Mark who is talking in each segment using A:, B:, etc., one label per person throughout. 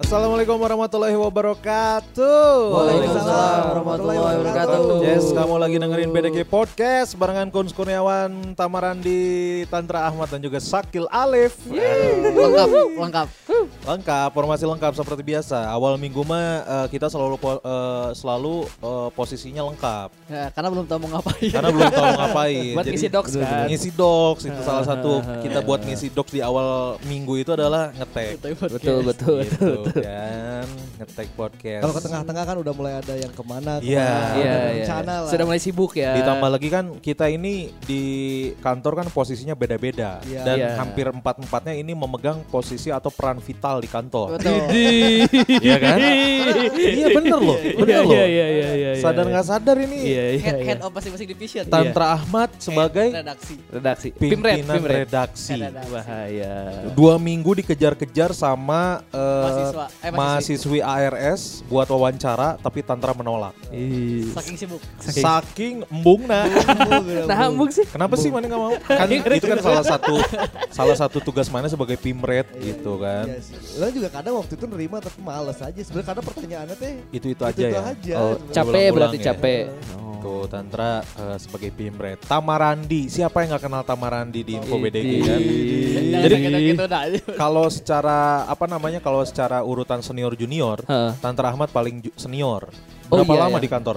A: Assalamualaikum warahmatullahi wabarakatuh.
B: Waalaikumsalam warahmatullahi wabarakatuh.
A: Yes, kamu lagi dengerin BDG Podcast barengan Kun Kurniawan, Tamarandi, Tantra Ahmad dan juga Sakil Alif.
B: lengkap, lengkap.
A: Lengkap, formasi lengkap seperti biasa. Awal minggu mah eh, kita selalu po- eh, selalu eh, posisinya lengkap
B: Ya, karena belum tahu mau ngapain.
A: karena belum tahu ngapain.
C: Buat ngisi docs kan?
A: Ngisi docs itu salah satu kita buat ngisi docs di awal minggu itu adalah ngetek.
B: Tapi buat
C: Betul,
B: kayak-
C: betul, betul.
A: gitu kan ngetek podcast
D: Kalau ke tengah-tengah kan udah mulai ada yang kemana,
A: Iya.
D: kemana,
C: Iya,
D: ada
C: iya.
D: rencana lah.
C: Sudah mulai sibuk ya.
A: ditambah lagi kan kita ini di kantor kan posisinya beda-beda
D: Iya.
A: dan
C: Iya.
A: hampir empat empatnya ini memegang posisi atau peran vital di kantor
B: Betul.
A: Oh. iya kan iya bener loh bener loh
C: Iya, iya, iya, iya. iya,
A: sadar
C: iya.
A: nggak sadar ini
C: Iya, Eh, iya,
B: Head,
C: iya.
B: head of masing-masing division.
A: Tantra Ahmad
B: Head
A: sebagai
B: redaksi.
C: Redaksi. Pimret,
A: pimpinan
C: Pimret.
A: redaksi
B: Head redaksi.
C: Bahaya.
A: dua minggu dikejar-kejar sama eh,
B: Mahasiswa, eh, mahasiswi.
A: mahasiswi ARS buat wawancara tapi Tantra menolak
C: Ih.
B: Saking sibuk.
C: Saking-
A: saking embungna
D: Iya
C: Nah, ambung sih.
A: Kenapa sih mana nggak mau? Kan itu kan salah satu salah satu tugas mana sebagai pimret gitu
D: Iya
A: kan.
D: sih. Lo juga kadang waktu itu nerima tapi males aja. Sebenarnya kadang pertanyaannya teh
A: Itu-itu aja
D: Itu-itu
A: ya.
D: aja.
A: sebenarnya.
C: Oh, Capek
A: Ulang-ulang
C: berarti
A: ya.
C: capek.
A: Tuh Tantra eh, sebagai pimret. Tamarandi, siapa yang nggak kenal Tamarandi di Info BDG
C: Idi.
A: kan?
B: Jadi gitu dah.
A: Kalau secara apa namanya kalau secara urutan senior junior,
C: Heeh.
A: Tantra Ahmad paling ju- senior.
C: Oh,
A: Berapa
C: iya,
A: lama
C: iya.
A: di kantor?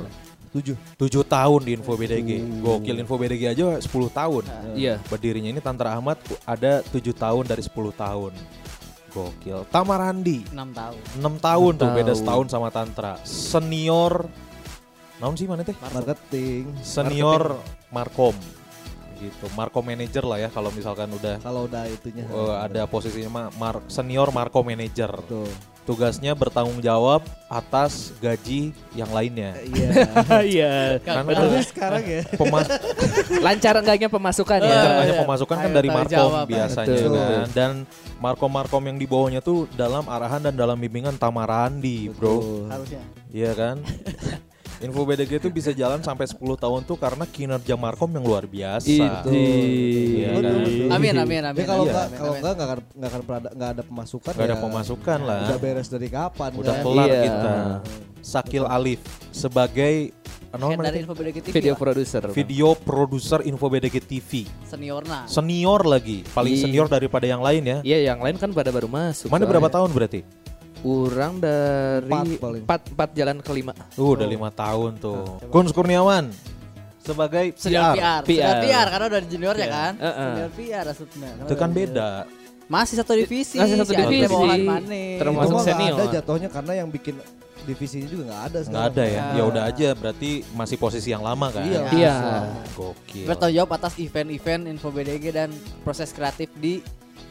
D: Tujuh.
A: 7 tahun di Info BDG. Gokil Info BDG aja 10 tahun.
C: Iya.
A: Berdirinya ini Tantra Ahmad ada 7 tahun dari 10 tahun. Gokil. Tamarandi
B: 6 tahun.
A: 6 tahun tuh
C: tahun.
A: beda setahun sama Tantra. Senior naon sih mana teh?
D: Marketing.
A: Senior Markom. Gitu. Markom manager lah ya kalau misalkan udah
D: Kalau udah itunya.
A: eh, ada posisinya mah mar- senior Markom manager.
D: Tuh.
A: Tugasnya bertanggung jawab atas gaji yang lainnya.
D: Iya.
C: Bahaya.
A: Karena
D: Tapi sekarang ya.
A: pemas
C: Lancar enggaknya pemasukan ya.
A: rencananya pemasukan kan
B: Ayo
A: dari
B: tanggung
A: Markom
B: jawab.
A: biasanya
C: Betul.
A: kan. Dan Markom-Markom yang di bawahnya tuh dalam arahan dan dalam bimbingan Tamarandi, Bro.
D: Tuh.
B: Harusnya.
A: Iya kan? Info BDG itu bisa jalan sampai 10 tahun tuh karena kinerja Markom yang luar biasa.
C: Idi.
A: Iya
D: Betul,
A: kan?
D: betul.
B: Amin, amin, amin. amin,
D: Ya kalau
B: Iya.
D: enggak
B: amin,
D: kalau
B: amin.
D: enggak enggak akan enggak akan perada- enggak ada pemasukan.
A: Gak ada
D: ya
A: pemasukan lah.
D: Udah beres dari kapan?
A: Udah
D: kan?
A: kelar
C: Iya.
A: kita. Sakil Alif sebagai ano
B: Head
A: namanya
B: dari
A: tadi?
B: Info Budaya TV.
C: Video
B: lah.
C: produser.
A: video produser Info BDG TV.
B: Seniorna.
A: Senior lagi, paling
C: Iya.
A: senior daripada yang lain ya.
C: Iya, yang lain kan pada baru masuk.
A: Mana
C: soalnya.
A: berapa tahun berarti?
C: Kurang dari
D: Empat paling.
C: empat empat jalan kelima.
A: Uh, udah lima tahun tuh. Kun Kurniawan sebagai
B: Senior
A: PR.
B: PR. Senior
C: PR.
B: PR karena udah junior ya kan?
C: Heeh.
B: Senior PR maksudnya. Karena
A: Itu kan
B: udah junior.
A: beda.
B: Masih satu divisi.
C: Masih satu
B: si Andre
C: divisi.
B: Mohan Mane.
D: Itu
C: Termasuk- Masuk
D: mah nggak
C: senior.
D: ada jatuhnya karena yang bikin divisinya juga enggak ada
A: Nggak
D: sekarang.
A: ada ya. Ya udah aja berarti masih posisi yang lama kan.
D: Iya.
C: Iya.
A: Gokil.
B: bertanggung jawab atas event-event info BDG dan proses kreatif di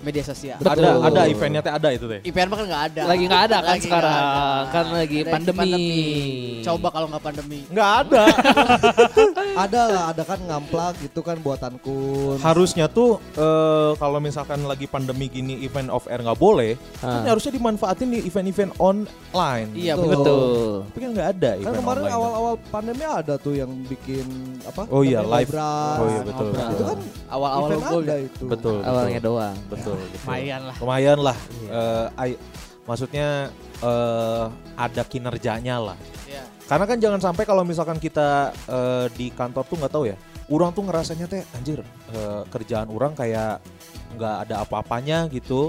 B: media sosial.
C: Betul.
A: Ada ada eventnya teh ada itu teh.
B: Event mah kan nggak ada.
C: Lagi nggak ada kan
B: Lagi
C: sekarang.
B: nggak ada.
C: Kan lagi
B: Ada
C: pandemi.
B: Coba kalau nggak pandemi.
A: Nggak ada.
D: Ada lah, ada kan ngamplak gitu kan buatan kun.
A: harusnya tuh eh, kalau misalkan lagi pandemi gini event off air nggak boleh,
C: Ah.
A: kan harusnya dimanfaatin di event-event online.
B: Iya
D: Betul.
B: betul.
C: Betul.
A: Tapi kan nggak ada
D: Kan
A: event
D: kemarin
A: online.
D: awal-awal pandemi ada tuh yang bikin apa?
A: Oh iya,
D: namanya
A: live.
D: obras.
A: Oh iya, betul,
B: Ngobrol.
A: betul.
D: Itu kan
B: awal-awal
D: event
B: gua
D: ada
B: udah-
D: itu.
A: betul.
C: Awalnya
A: betul.
C: doang.
A: Betul. betul.
B: Lumayan lah.
A: Lumayan lah. Eh, ai- maksudnya eh, ada kinerjanya lah.
B: Iya.
A: Karena kan jangan sampai kalau misalkan kita eh, di kantor tuh nggak tahu ya, orang tuh ngerasanya teh anjir eh, kerjaan orang kayak nggak ada apa-apanya gitu.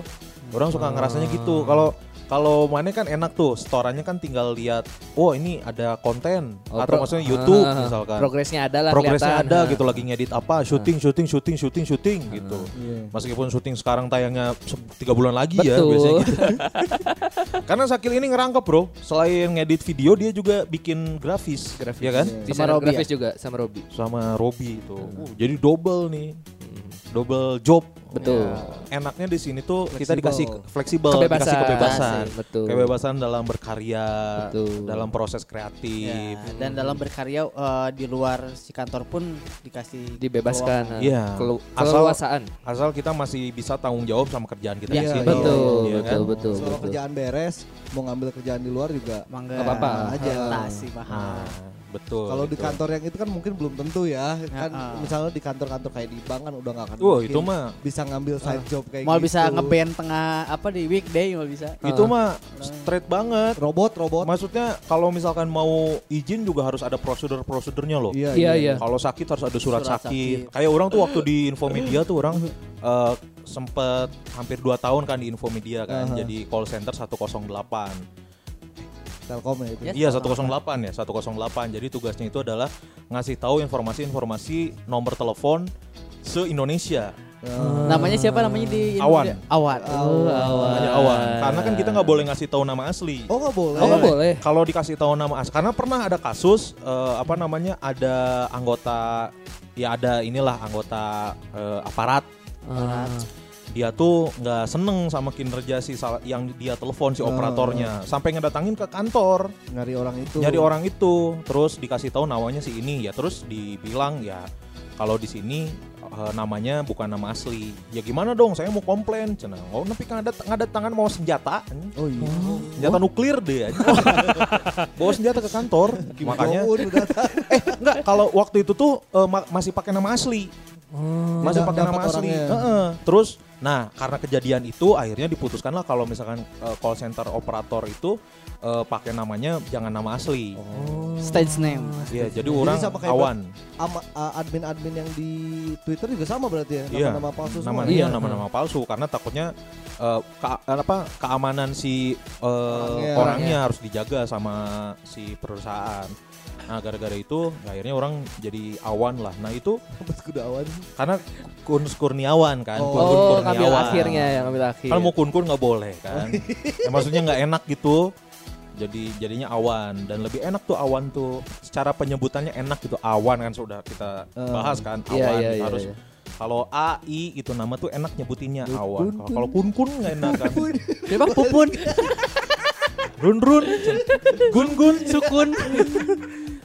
A: Orang suka ngerasanya gitu. Kalau kalau mana kan enak tuh, storannya kan tinggal lihat, oh ini ada konten
C: Oh,
A: atau
C: pro-
A: maksudnya YouTube
C: Ah,
A: misalkan.
C: Progresnya ada lah
A: Progresnya
C: kelihatan.
A: ada
C: Ah.
A: gitu lagi ngedit apa, syuting, syuting, syuting, syuting, syuting gitu.
D: Iya.
A: Meskipun syuting sekarang tayangnya se- tiga bulan lagi ya
C: Betul.
A: biasanya gitu. Karena Sakil ini ngerangkep bro, selain ngedit video dia juga bikin grafis,
C: Grafis.
A: ya kan?
D: Iya.
C: Desainer
B: Sama Robby
C: grafis Iya. juga sama Robi.
A: Sama Robi itu. Uh, jadi double nih, double job.
C: Betul.
A: Ya. Enaknya di sini tuh kita
D: Fleksibel.
A: dikasih ke- fleksibel,
C: Kebebasan.
A: dikasih kebebasan,
C: Betul.
A: kebebasan dalam berkarya,
C: Betul.
A: dalam proses kreatif.
C: Gitu.
B: Ya, Dan dalam berkarya eh, di luar si kantor pun dikasih
C: Dibebaskan. ah.
A: Iya.
C: Kelu-
A: Asal-
C: Keleluasaan.
A: Asal kita masih bisa tanggung jawab sama kerjaan kita di
B: Iya,
A: sini.
C: Betul,
A: Iya kan?
C: betul, betul,
D: Selama
C: betul.
D: kerjaan beres, mau ngambil kerjaan di luar juga.
B: Mangga.
C: Nggak apa-apa. Eh.
D: Aja.
B: Nasi mahal.
A: Nah, betul.
D: Kalau di
A: betul.
D: kantor yang itu kan mungkin belum tentu ya. Kan
B: ah.
D: misalnya di kantor-kantor kayak di bank kan udah nggak akan
A: Wah,
D: mungkin
C: Ah.
A: itu mah.
D: bisa ngambil side job grup kayak
B: mau
D: gitu.
B: bisa ngeband tengah apa di weekday mau bisa.
A: itu
C: Gitu.
A: mah straight banget.
D: robot robot.
A: Maksudnya kalau misalkan mau izin juga harus ada prosedur-prosedurnya loh.
C: Iya, iya.
A: Kalau sakit harus ada surat,
B: Surat
A: sakit.
B: sakit.
A: Kayak orang tuh waktu di Infomedia tuh orang
C: Mm-hmm.
A: eh, sempet hampir 2 tahun kan di Infomedia kan.
D: Aha.
A: Jadi call center 108.
D: Telkom ya itu.
B: Yes.
A: Iya 108 ya 108 Jadi tugasnya itu adalah Ngasih tahu informasi-informasi Nomor telepon Se-Indonesia
B: Gitu. Namanya siapa namanya di
A: Awan.
B: Awan.
D: Oh,
C: Awan.
A: Namanya Awan Karena kan kita nggak boleh ngasih tahu nama asli
D: Oh nggak boleh.
C: Oh, nggak boleh.
A: Kalau dikasih tahu nama asli Karena pernah ada kasus eh, Apa namanya Ada anggota Ya ada inilah anggota eh, aparat
C: Ah.
A: dia tuh nggak seneng sama kinerja si sal- yang dia telepon si
D: Oh.
A: operatornya sampai ngedatangin ke kantor
D: Nyari orang itu.
A: nyari orang itu terus dikasih tahu namanya si ini ya terus dibilang ya kalau di sini eh, namanya bukan nama asli ya gimana dong saya mau komplain cenah oh tapi kan ada ada tangan mau senjata
D: Oh iya.
A: senjata nuklir deh anjing. bawa senjata ke kantor makanya
D: Jauh Oh, udah
A: eh enggak kalau waktu itu tuh eh, ma- masih pakai nama asli masih
D: Udah
A: pakai nama
D: dapat
A: asli
D: orangnya.
A: Heeh. terus nah karena kejadian itu akhirnya diputuskanlah kalau misalkan eh, call center operator itu eh, pakai namanya jangan nama asli
B: Stage name.
A: Iya, jadi
D: Jadi
A: orang
D: sama kayak
A: awan.
D: Ama, a- admin-admin yang di Twitter juga sama berarti ya.
A: Iya.
D: Nama-nama palsu semua.
A: Namanya
C: Iya.
A: nama-nama palsu karena takutnya eh, ka- apa keamanan si eh,
D: Orangnya.
A: orangnya. harus dijaga sama si perusahaan. Nah, gara-gara itu akhirnya orang jadi awan lah. Nah, itu
D: Sampai kudawan.
A: karena Kun Kurniawan kan,
D: Oh.
A: Kun Kun
C: Oh, ngambil
A: Kurniawan.
C: akhirnya ya, ngambil akhir.
A: Kalau mau Kun Kun nggak boleh
C: Oh,
A: kan.
C: iya.
A: Ya, maksudnya nggak enak gitu. Jadi jadinya awan dan lebih enak tuh awan tuh secara penyebutannya enak gitu awan kan sudah kita bahas kan awan
C: Iya, iya, iya,
A: harus
C: iya.
A: Kalau A, I itu nama tuh enak nyebutinnya
D: Kun-
A: awan.
D: kun-
A: Kalau- Kalau kun kun nggak enak kan.
B: Siapa Pupun?
A: Run run, gun gun,
B: Sukun.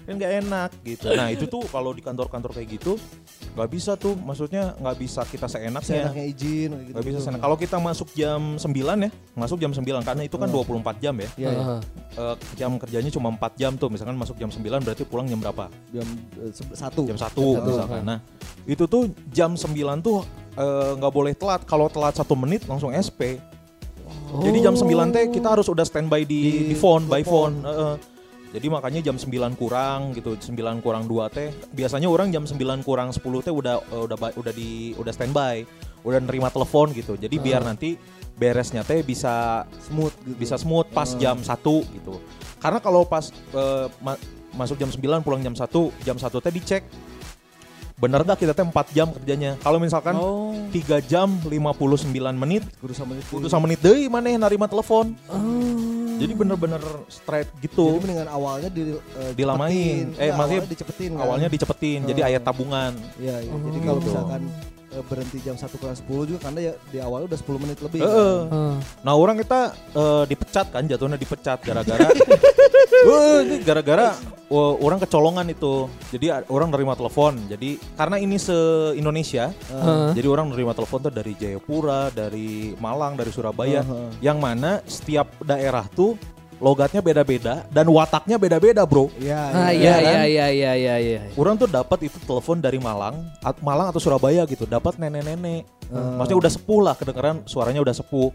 A: kan nggak enak gitu. Nah itu tuh kalau di kantor-kantor kayak gitu nggak bisa tuh, maksudnya nggak bisa kita seenaknya.
D: Seenaknya izin kayak gitu.
A: Nggak Iya. bisa seenak. Kalau kita masuk jam 9 ya, masuk jam 9 karena itu kan 24 jam ya.
D: Iya, iya.
C: Ah.
A: Eh, jam kerjanya cuma 4 jam tuh, misalkan masuk jam 9 berarti pulang jam berapa?
D: jam eh, se- satu.
A: Jam 1
D: satu.
A: misalkan. Nah itu tuh jam 9 tuh eh, nggak boleh telat. Kalau telat satu menit langsung SP. Jadi jam 9 teh kita harus udah standby
D: Di
A: di, di phone, by
D: telepon.
A: phone. heeh. Jadi makanya jam 9 kurang gitu, 9 kurang 2 teh. Biasanya orang jam 9 kurang 10 teh udah eh, udah ba- udah di udah standby, udah nerima telepon gitu. Jadi biar nanti beresnya teh bisa
D: Smooth gitu.
A: bisa smooth pas
D: Hmm.
A: jam 1 gitu. Karena kalau pas eh, ma- masuk jam 9 pulang jam 1, jam 1 teh dicek bener gak kita teh 4 jam kerjanya. Kalau misalkan
B: Oh.
A: 3 jam 59 menit
D: kudu sama itu.
A: Kudu sama menit deui maneh narima telepon. Jadi bener-bener straight
D: Oh. Jadi
A: gitu.
D: mendingan awalnya di eh,
A: Dilamain.
D: cepetin.
A: Eh,
D: Nggak,
A: maksudnya
D: awalnya dicepetin kan.
A: Awalnya dicepetin, jadi ayat tabungan.
D: Iya, iya. Jadi kalau
A: Gitu.
D: misalkan eh, berhenti jam 1 kurang 10 juga karena ya di awal udah 10 menit lebih. kan.
A: Heeh.
C: Ah.
A: Nah orang kita eh, dipecat kan, jatuhnya dipecat gara-gara, Wah, ini gara-gara wah, orang kecolongan itu. Jadi a- orang nerima telepon. Jadi karena ini se Indonesia,
C: Ah.
A: jadi orang nerima telepon tuh dari Jayapura, dari Malang, dari Surabaya,
D: Heeh.
A: yang mana setiap daerah tuh logatnya beda-beda dan wataknya beda-beda, bro.
D: Iya, iya.
C: Ah, iya,
A: Iya,
C: iya,
A: kan?
C: iya, iya, iya, iya.
A: Orang tuh dapat itu telepon dari Malang, at- Malang atau Surabaya gitu, dapat nenek-nenek. Eh, Maksudnya udah sepuh lah, kedengeran suaranya udah sepuh.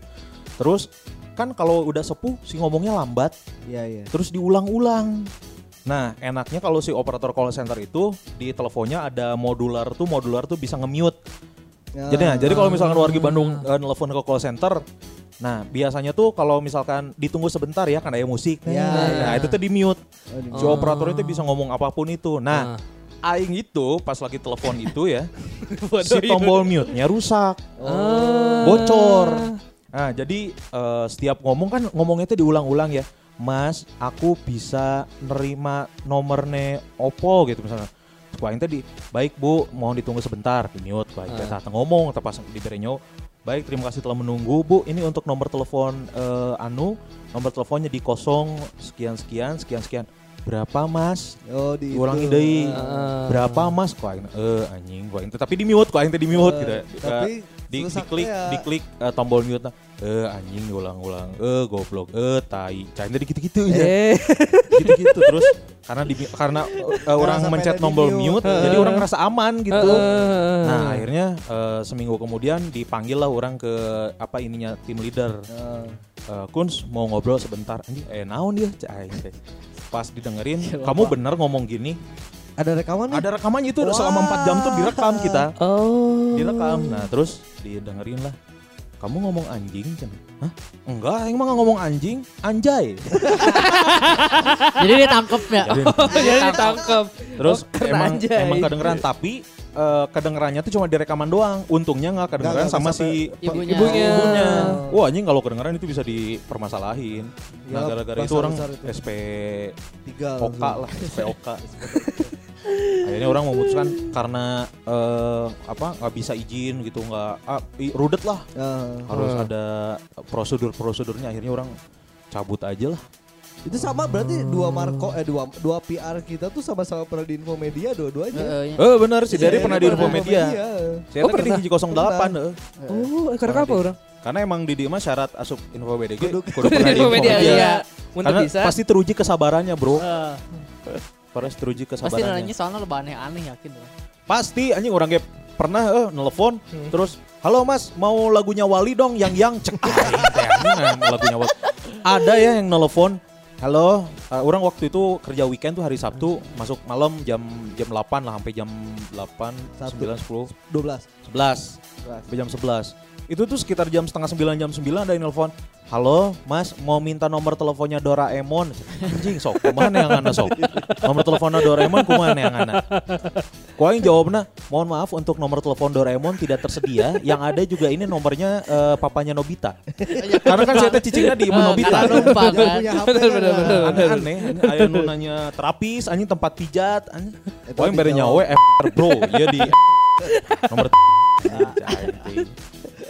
A: Terus kan kalau udah sepuh si ngomongnya lambat,
D: Iya, iya.
A: terus diulang-ulang. Nah, enaknya kalau si operator call center itu di teleponnya ada modular tuh, modular tuh bisa nge-mute.
D: Ah.
A: Jadi nah, jadi kalau misalkan warga Bandung eh, nelpon ke call center, nah biasanya tuh kalau misalkan ditunggu sebentar ya kan ada musik.
D: Ya,
A: nah, itu tuh di-mute.
D: Oh, Ah. di-
A: Si operator itu bisa ngomong apapun itu. Nah, aing itu pas lagi telepon itu ya, si
D: iya.
A: tombol mute-nya rusak.
D: Ah.
A: Bocor. Nah, jadi eh, setiap ngomong kan ngomongnya itu diulang-ulang ya. Mas, aku bisa nerima nomornya Oppo gitu misalnya. Ku aing tadi, baik Bu, mohon ditunggu sebentar. Di mute ku aing teh tah ngomong teh pas diberenyo. Baik, terima kasih telah menunggu Bu. Ini untuk nomor telepon eh, anu, nomor teleponnya di kosong sekian sekian sekian sekian. Berapa Mas?
D: Oh, di
A: Diulangi
D: itu.
A: deui.
C: Ah.
A: Berapa Mas? Ku aing eh anjing ku aing teh. tapi di mute ku aing teh di mute gitu.
D: Eh, tapi
A: Eh, di,
D: susah
A: diklik
D: teh ya.
A: diklik eh, tombol mute nah. eh anjing ulang-ulang eh goblok eh tai cahaya gitu-gitu ya
C: Eh,
A: gitu-gitu terus karena di, karena eh, orang
D: Ngerasa
A: mencet
D: pengen
A: tombol
D: di-mute.
A: mute jadi orang ngerasa aman gitu.
C: Heeh.
A: Nah, akhirnya eh, seminggu kemudian dipanggil lah orang ke apa ininya tim leader. Eh, Kunz mau ngobrol sebentar. Anjing, eh naon dia? Cah, aing teh. Pas didengerin, kamu benar ngomong gini.
D: Ada rekaman nih?
A: Ada rekamannya itu
D: Wah.
A: selama 4 jam tuh direkam kita.
C: oh.
A: Direkam. Nah, terus didengerin lah. Kamu ngomong anjing, Cen." Hah? Enggak, emang nggak ngomong anjing, anjay.
B: Jadi ya. ditangkepnya.
A: Jadi-
C: Jadi ditangkep.
A: Terus
C: Oh, kena
A: emang
C: anjay.
A: emang kedengeran tapi eh, kedengerannya tuh cuma direkaman doang. Untungnya nggak kedengeran
D: Nggak,
A: sama
D: nggak
A: si
D: sampai
B: Ibunya.
C: Ibunya.
A: ibunya.
D: Oh.
A: Wah anjing kalau kedengeran itu bisa dipermasalahin. Nah
D: Iyalah,
A: gara-gara itu
D: pasar
A: orang
D: besar itu. Iya,
A: SP
D: Tiga
A: Oka
D: langsung.
A: lah, SP Oka. Akhirnya orang memutuskan karena eh, apa nggak bisa izin gitu nggak ah, i- rudet lah
D: Nah,
A: harus
C: Hmm.
A: ada prosedur prosedurnya akhirnya orang cabut aja lah
D: itu sama berarti dua Marco eh dua dua PR kita tuh sama-sama pernah di info media dua-duanya.
B: Heeh, ya.
A: eh benar si
D: Iya,
A: dari pernah di
B: pernah.
A: Info Media saya
C: Oh,
A: kan di
C: pernah.
A: hiji 08 eh.
C: Oh, karena apa orang?
A: Karena emang di mah syarat asup info BDG
D: Kudu-
A: kudu pernah di
C: Media,
A: info
C: media.
A: media.
C: Iya. Muntah
A: Karena
C: bisa.
A: pasti teruji kesabarannya, Bro.
C: Eh.
A: Pasti teruji
B: Pasti nanya
A: kesabarannya. Pasti,
B: soalnya lebih aneh-aneh yakin. loh.
A: anjing orang kayak pernah eh nelpon terus halo Mas mau lagunya Wali dong yang yang cek aing Ah, iya, teh, anjing, eh, lagunya Wali. Ada ya yang nelpon Halo, eh, orang waktu itu kerja weekend tuh hari Sabtu, masuk malam jam jam 8 lah sampai jam 8,
D: Sabtu.
A: 9, 10,
D: Dua belas.
A: 11. sampai jam 11 itu tuh sekitar jam setengah sembilan jam 9 ada yang nelfon halo mas mau minta nomor teleponnya Doraemon anjing sok kumana yang ana sok nomor teleponnya Doraemon kumana yang ana Ku aing jawabna "Nah, mohon maaf untuk nomor telepon Doraemon tidak tersedia yang ada juga ini nomornya eh, papanya Nobita karena kan saya teh cicingnya di ibu
B: Eh,
A: Nobita
B: karena lupa
D: Jangan
B: kan.
D: punya HP.
C: Bener, bener,
D: kan?
C: bener.
A: aneh-aneh ayo nu nanya terapis anjing tempat pijat anjing
D: Eta
A: poin bere
D: dijawab.
A: nyawe FR bro ya di nomor t-
C: Nah,
A: anjing.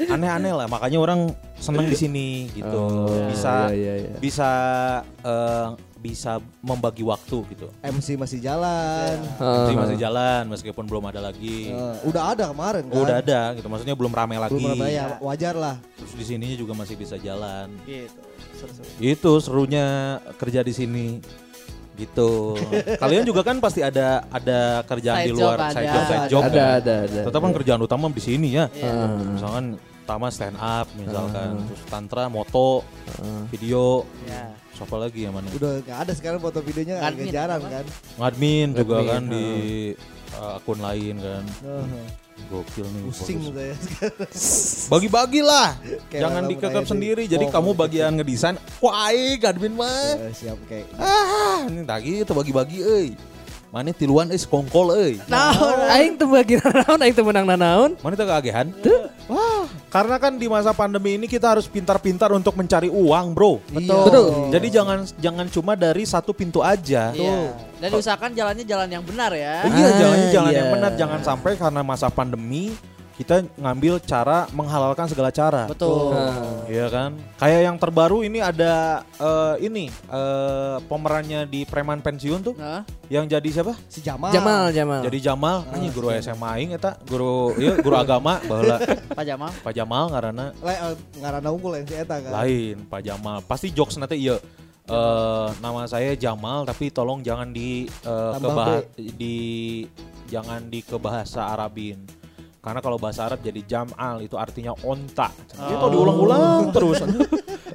A: aneh-aneh lah makanya orang seneng di sini gitu
C: Oh,
A: bisa
C: iya, iya, iya.
A: bisa eh, bisa membagi waktu gitu
C: Uh-huh.
D: MC masih jalan.
A: Jadi
C: Eh.
A: masih jalan meskipun belum ada lagi
D: Eh,
C: Uh-huh.
D: udah ada kemarin kan.
A: Oh, Iya. udah ada gitu maksudnya belum rame lagi
D: Belum pernah ya wajar lah.
A: terus di sininya juga masih bisa jalan
B: Gitu. Seru-seru.
A: itu serunya kerja di sini gitu kalian juga kan pasti ada ada kerjaan
B: Side
A: di luar
B: job
A: side
B: ada.
A: job side job
C: Ada,
A: kan?
C: ada, ada.
A: tetap kan kerjaan utama di sini ya
D: Ah.
B: Iya.
A: misalkan utama stand up misalkan terus tantra moto
D: Ah.
A: video
B: Iya.
A: siapa lagi yang mana
D: Udah nggak ada sekarang foto videonya
B: Kan
D: agak
B: ini
D: jarang
B: apa?
D: kan.
A: admin juga
C: Admin,
A: kan di uh, akun lain kan
D: Heeh. ya.
A: gokil nih
D: ah. Pusing
A: fokus.
D: saya sekarang.
A: bagi-bagilah
D: Kayak
A: jangan
D: orang
A: dikekep
D: kayak di-
A: sendiri jadi
D: Oh,
A: kamu
D: gitu.
A: bagian ngedesain wah aing admin mah
D: Eh, siap kayak.
A: Ah, ini tadi terbagi-bagi euy. Mana tiluan euy sekongkol euy.
C: Naon, Nah, aing teu bagi naon, aing teu menang naon.
A: Mana teu keagehan? Wah, karena kan di masa pandemi ini kita harus pintar-pintar untuk mencari uang, Bro.
D: Betul.
C: Betul.
A: Jadi jangan jangan cuma dari satu pintu aja.
B: Iya. Dan diusahakan jalannya jalan yang benar ya.
A: Iya,
C: Ah,
A: jangan jangan yang
C: iya.
A: benar, jangan sampai karena masa pandemi kita ngambil cara menghalalkan segala cara.
B: Betul.
A: Iya kan? Kayak yang terbaru ini ada eh, ini eh, pemerannya di preman pensiun tuh
B: Nah,
A: yang jadi siapa?
D: Si Ah. Jamal. Ah,
C: Jamal, Jamal.
A: Jadi Jamal, anjing guru SMA aing eta, guru ieu guru agama baheula.
B: Pak Jamal.
A: Pak Jamal ngaranna
D: Le, eh, ngarana unggul yang si Eta kan.
A: lain, Pak Jamal. Pasti jokes nanti iya. eh, nama saya Jamal tapi tolong jangan di eh,
D: Tambah
A: kebah- di jangan di ke bahasa Arabin. Karena kalau bahasa Arab jadi jamal itu artinya onta. Itu
B: Oh.
A: diulang-ulang terus.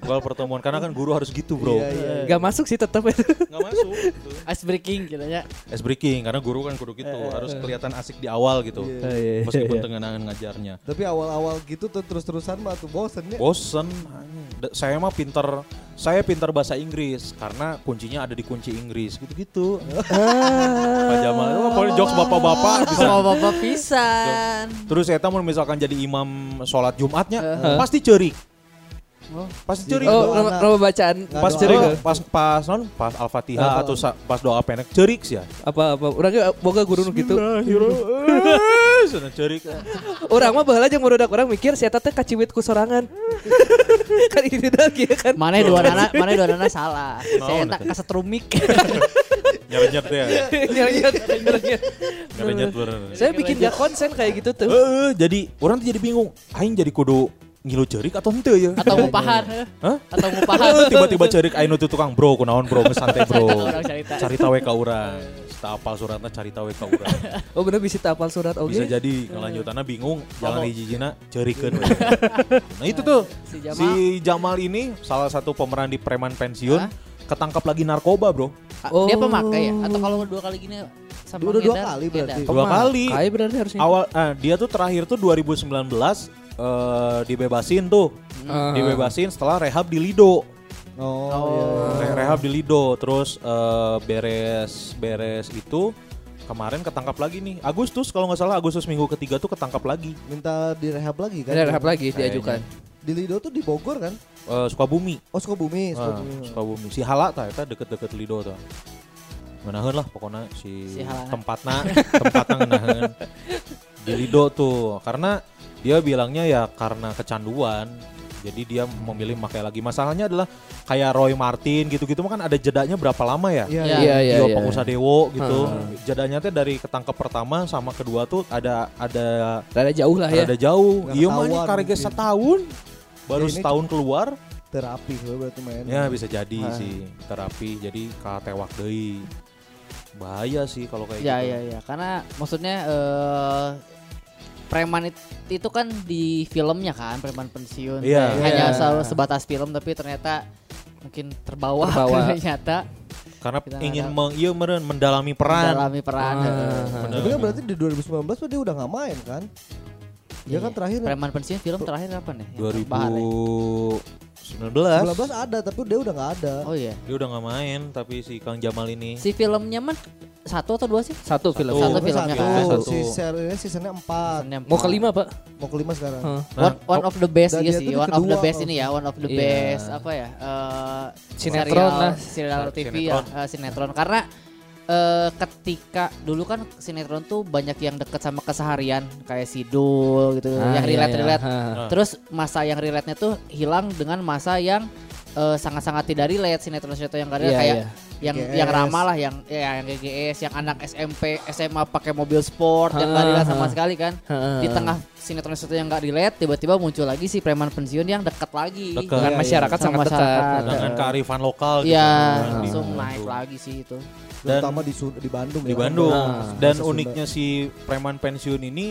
A: Kalau pertemuan karena kan guru harus gitu, Bro.
D: Iya, iya.
C: Gak masuk sih tetap itu.
A: Nggak masuk gitu.
B: Ice breaking ya. kiranya.
A: Ice breaking karena guru kan kudu gitu, harus kelihatan asik di awal gitu.
D: Eh, Iya.
A: Meskipun tengenangan ngajarnya.
D: Tapi awal-awal gitu tuh terus-terusan mah tuh bosen ya.
A: bosen Da- saya mah pinter saya pinter bahasa Inggris karena kuncinya ada di kunci Inggris gitu-gitu Pak Jamal wah kalau jokes bapak-bapak bisa
B: Sama bapak pisan.
A: terus saya tahu misalkan jadi imam sholat Jumatnya pasti cerik
B: Oh.
A: pasti cerik
C: Oh, nama, nama bacaan.
D: Nggak
A: pas
D: doa.
A: cerik
D: nah, Oh.
A: pas pas non pas al-fatihah
D: Apa?
A: atau sa- pas doa pendek cerik sih ya
C: Apa apa urang ge boga guru nu gitu. kitu.
A: Sana Eh, cerik
C: Urang mah baheula jeung murudak urang mikir si eta teh kaciwit ku sorangan. kan itu dah kieu kan.
B: Mana dua nana, mana dua nana salah.
A: Naon
B: Saya tak
A: itu?
B: kasetrumik.
A: nyeret-nyeret ya
C: Nyariat, nyariat.
A: nyeret-nyeret bener
C: Saya bikin gak konsen kayak gitu
A: Eh,
C: tuh.
A: eh, jadi orang tuh jadi bingung. Aing jadi kudu ngilu cerik atau henteu ya?
B: atau ngupahan
A: Hah?
B: atau ngupahan
A: Eh, tiba-tiba cerik ayo tuh tukang bro kunaon bro geus santai bro
B: Carita orang carita.
A: carita we ka urang tak apal suratna carita we ka urang
C: Oh bener bisa tapal surat oke.
A: bisa jadi ngelanjutannya bingung jangan hijijina ceurikeun we. nah itu tuh
B: Si
A: si Jamal,
B: Jamal.
A: ini salah satu pemeran di preman pensiun
B: Hah?
A: ketangkap lagi narkoba bro
B: Ah, dia
C: Oh.
B: pemakai ya atau kalau dua kali gini sama
D: Udah dua
B: ngedar,
D: kali
B: ngedar.
D: berarti.
A: dua
C: Pemakai
A: kali
C: berarti harusnya.
A: awal ah, dia tuh terakhir tuh 2019 eh, dibebasin tuh
C: Ah.
A: dibebasin setelah rehab di Lido
D: Oh, iya, iya.
A: Re- rehab di Lido terus eh, beres beres itu kemarin ketangkap lagi nih Agustus kalau nggak salah Agustus minggu ketiga tuh ketangkap lagi
D: Minta direhab lagi kan?
C: Ada rehab lagi diajukan.
D: Di Lido tuh di Bogor kan?
A: Eh, Sukabumi
D: Oh Sukabumi,
A: Ah,
D: Sukabumi.
A: Sukabumi si Hala tah eta deket-deket Lido tuh ngeunaheun lah pokoknya si,
B: Si Hala.
A: tempatna tempatna ngeunaheun di Lido tuh karena dia bilangnya ya karena kecanduan jadi dia memilih memakai lagi masalahnya adalah kayak Roy Martin gitu-gitu mah kan ada jedanya berapa lama ya
D: Iya,
B: Ya.
D: iya.
A: Iya, pengusaha dewo gitu. Jadanya teh dari ketangkep pertama sama kedua tuh ada ada
C: Rada jauh lah ya.
A: ada jauh.
D: Nggak
A: Ah, Iya mah ini
D: ketahuan
A: karege
D: mungkin.
A: setahun baru
D: Ya, ini-
A: setahun keluar
D: Terapi gue berarti main.
A: ya bisa jadi
D: Ah.
A: sih terapi jadi katewak deui. Bahaya sih kalau kayak
B: ya
A: gitu.
B: ya ya karena maksudnya eh preman it- itu kan di filmnya kan preman pensiun
A: Iya.
B: Eh, hanya
C: Iya.
B: selalu sebatas film tapi ternyata mungkin terbawa,
C: Terbawa.
B: ternyata
A: Karena
B: Kita
A: ingin
B: nggak
A: meng, iya, meren, mendalami peran.
B: mengalami peran
C: Ah.
B: eh,
A: Bener.
D: Tapi kan berarti di 2019 mah dia udah nggak main kan? Dia
B: Iya.
D: kan terakhir
B: preman pensiun film terakhir kapan ya Yang Bahar ya?
D: 19
B: ah.
A: 2019
D: ada tapi dia udah nggak ada.
B: oh iya
A: dia udah nggak main tapi si Kang Jamal ini
B: si filmnya mah satu atau dua sih
C: Satu film.
A: Satu.
D: Tapi
B: iya, filmnya
D: satu,
A: kan. Satu.
D: Si serinya seasonnya 4
B: Season yang empat.
C: Mau kelima pak?
D: Mau kelima sekarang.
C: Hah.
A: Nah,
B: one, one of the best iya
D: dan dia
B: sih
D: tuh di
B: one of the
D: kedua.
B: best ini ya one of the
C: Iya.
B: best apa ya eh,
C: Sinetron
B: serial-
C: lah.
B: serial
A: Sinetron.
B: TV ya eh, sinetron karena eh, ketika dulu kan sinetron tuh banyak yang deket sama keseharian kayak Sidul gitu yang relate relate terus masa yang relate nya tuh hilang dengan masa yang eh, sangat-sangat tidak relate sinetron-sinetron yang gak relate.
C: Iya,
B: kayak
C: iya.
B: yang
D: GGS.
B: yang ramah lah yang ya, yang GGS yang anak SMP SMA pakai mobil sport yang gak
C: Ha,
B: relate
C: ha.
B: sama sekali kan
C: Ha.
B: di tengah sinetron itu yang gak relate tiba-tiba muncul lagi si preman pensiun yang dekat lagi
A: Dekat.
C: Dengan
A: Iya,
C: masyarakat
B: Sama
C: sangat
B: masyarakat.
C: dekat.
A: dengan kearifan lokal gitu.
B: eh. Iya,
A: Nah, di-
B: langsung naik lagi sih itu
A: Dan-
D: Terutama di, Sun- di Bandung
A: di
D: ya.
A: Bandung.
C: Nah,
A: Dan
D: bahasa Sunda.
A: uniknya si preman pensiun ini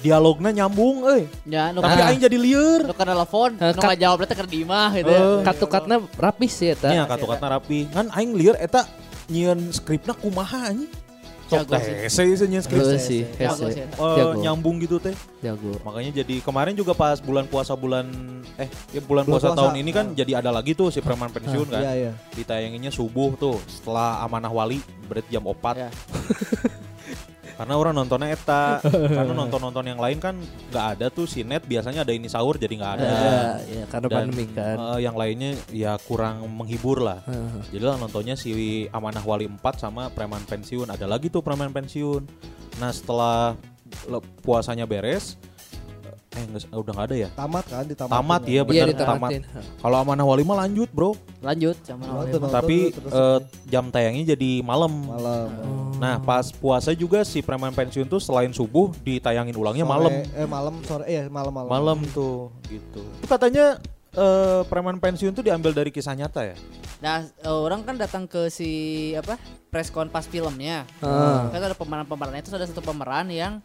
A: dialognya nyambung, eh.
B: ya nu
A: Tapi
B: kan
A: aing jadi liur.
B: nu kan telepon
C: Eh,
B: nu
C: kat- Oh,
B: kan jawab teh kerdimah gitu
A: Eh.
C: Katu-katna rapih sih ya tak.
A: Nya katu-katna rapi. Iya, Kan aing liur eta nyieun skripna kumaha anjing. Sok
B: Jago
A: teh hese sih nyieun skrip.
C: Jago
A: Eh,
C: Iya sih. Oh,
B: Jago
C: hese.
B: sih.
C: Jago.
A: nyambung gitu teh.
C: Jago.
A: Makanya jadi kemarin juga pas bulan puasa bulan eh ya bulan,
D: Bulan
A: puasa,
D: puasa.
A: tahun ini kan jadi ada lagi tuh si preman pensiun kan.
D: Iya, iya.
A: Ditayanginnya subuh tuh setelah amanah wali berarti jam 4.
B: Ya.
A: Karena orang nontonnya eta, karena nonton-nonton yang lain kan nggak ada tuh sinet biasanya ada ini sahur jadi nggak ada.
C: Ya, ya, karena pandemi kan.
A: eh, yang lainnya ya kurang menghibur lah.
C: Heeh.
A: Jadi lah nontonnya si Amanah Wali 4 sama Preman Pensiun. Ada lagi tuh Preman Pensiun. Nah setelah le- puasanya beres, eh nggak s- udah nggak ada ya?
D: Tamat kan di tamat.
A: Tamat ya
C: Iya
A: bener tamat.
C: ditamatin.
A: Kalau Amanah Wali mah lanjut bro,
B: lanjut sama
D: Nonton, nonton,
A: tapi
D: terus
A: eh, jam tayangnya jadi malam.
D: malam.
A: Nah pas puasa juga si Preman Pensiun tuh selain subuh ditayangin ulangnya
D: Sore-
A: malam.
D: Eh malam sore eh malam-malam.
A: malam tuh gitu Itu katanya eh, preman pensiun tuh diambil dari kisah nyata ya
B: Nah, eh, orang kan datang ke si apa? Preskon pas filmnya.
C: Ah.
B: Kan ada pemeran-pemerannya itu ada satu pemeran yang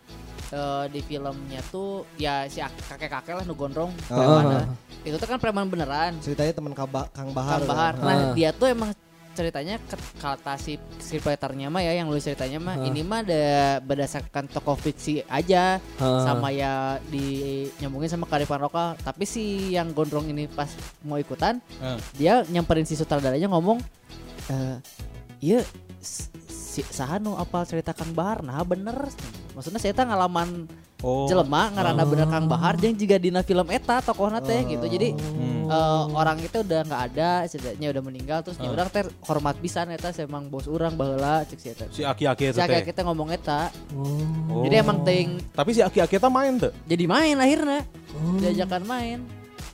B: eh, di filmnya tuh ya si ak- kakek-kakek lah nu gondrong
C: Ah.
B: preman lah. Itu tuh kan preman beneran.
D: Ceritanya teman Kaba- Kang Bahar.
B: Kang Bahar.
D: kan?
B: Nah,
C: Ah.
B: dia tuh emang ceritanya ke- kata si scriptwriternya mah ya yang nulis ceritanya mah ini mah ada berdasarkan tokoh fiksi aja
C: Ah.
B: sama ya di nyambungin sama kearifan lokal tapi si yang gondrong ini pas mau ikutan dia nyamperin si sutradaranya ngomong eh iya s- si sahanu apa cerita Kang Bahar nah bener maksudnya saya tak ngalaman
A: oh
B: jelema ngarana bener Kang Bahar yang juga dina film eta tokohna teh gitu jadi
A: Hmm.
B: eh, orang itu udah nggak ada ceritanya udah meninggal
A: Ah.
B: terus nya orang teh hormat pisan eta emang bos orang baheula cek si eta
A: si aki-aki itu
B: si
A: teh
B: kita ngomong eta
A: Oh.
B: jadi emang ting
A: tapi si aki-aki itu main tuh
B: jadi main akhirnya diajakan main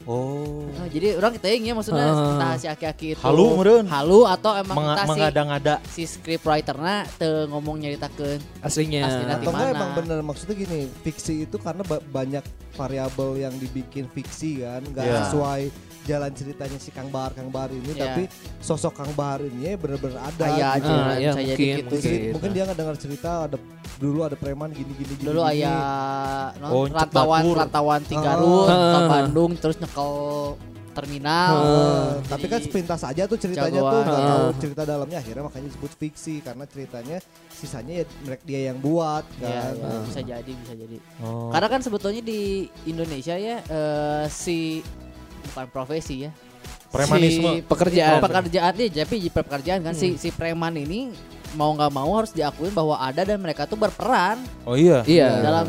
A: Oh.
B: Oh, jadi orang kita ingin maksudnya
C: Ah.
B: entah si aki-aki itu
A: Halu meureun.
B: halu atau emang
A: Menga-
B: entah si-
A: mengada-ngada.
B: si scriptwriter na teu ngomong nyaritakeun
C: aslinya.
B: Aslinya
D: Atau
B: Nah,
D: enggak
B: Dimana?
D: emang bener maksudnya gini, fiksi itu karena ba- banyak variabel yang dibikin fiksi kan, nggak
A: Iya.
D: sesuai jalan ceritanya si Kang Bahar Kang Bahar ini,
B: Iya.
D: tapi sosok Kang Bahar ini bener-bener ada.
B: aya aja
D: gitu.
C: Ah, ya,
B: saya
C: mungkin,
B: jadi gitu
D: Mungkin,
B: sih.
C: Gitu.
D: mungkin dia nggak dengar cerita ada dulu ada preman gini gini gini.
B: dulu
D: gini.
B: aya non,
A: Oh,
B: ratawan
A: cebatur.
B: ratawan
D: Ah.
B: tiga Garut ke
C: Ah.
B: Bandung terus nyekel terminal
D: Eh,
B: Oh, Jadi- ya,
D: tapi kan sepintas aja tuh ceritanya
B: jagoan.
D: tuh nggak tahu
C: Ah.
D: cerita dalamnya akhirnya makanya disebut fiksi karena ceritanya sisanya ya mereka dia yang buat
B: ya,
D: kan.
B: ya, bisa jadi bisa jadi
A: Oh.
B: karena kan sebetulnya di Indonesia ya eh, si bukan profesi ya
A: Premanisme.
B: si
C: Pekerjaan.
D: Iya.
B: pekerjaan dia tapi di pekerjaan kan
D: Hmm.
B: si si preman ini mau nggak mau harus diakuin bahwa ada dan mereka tuh berperan
A: Oh iya.
C: Iya.
B: dalam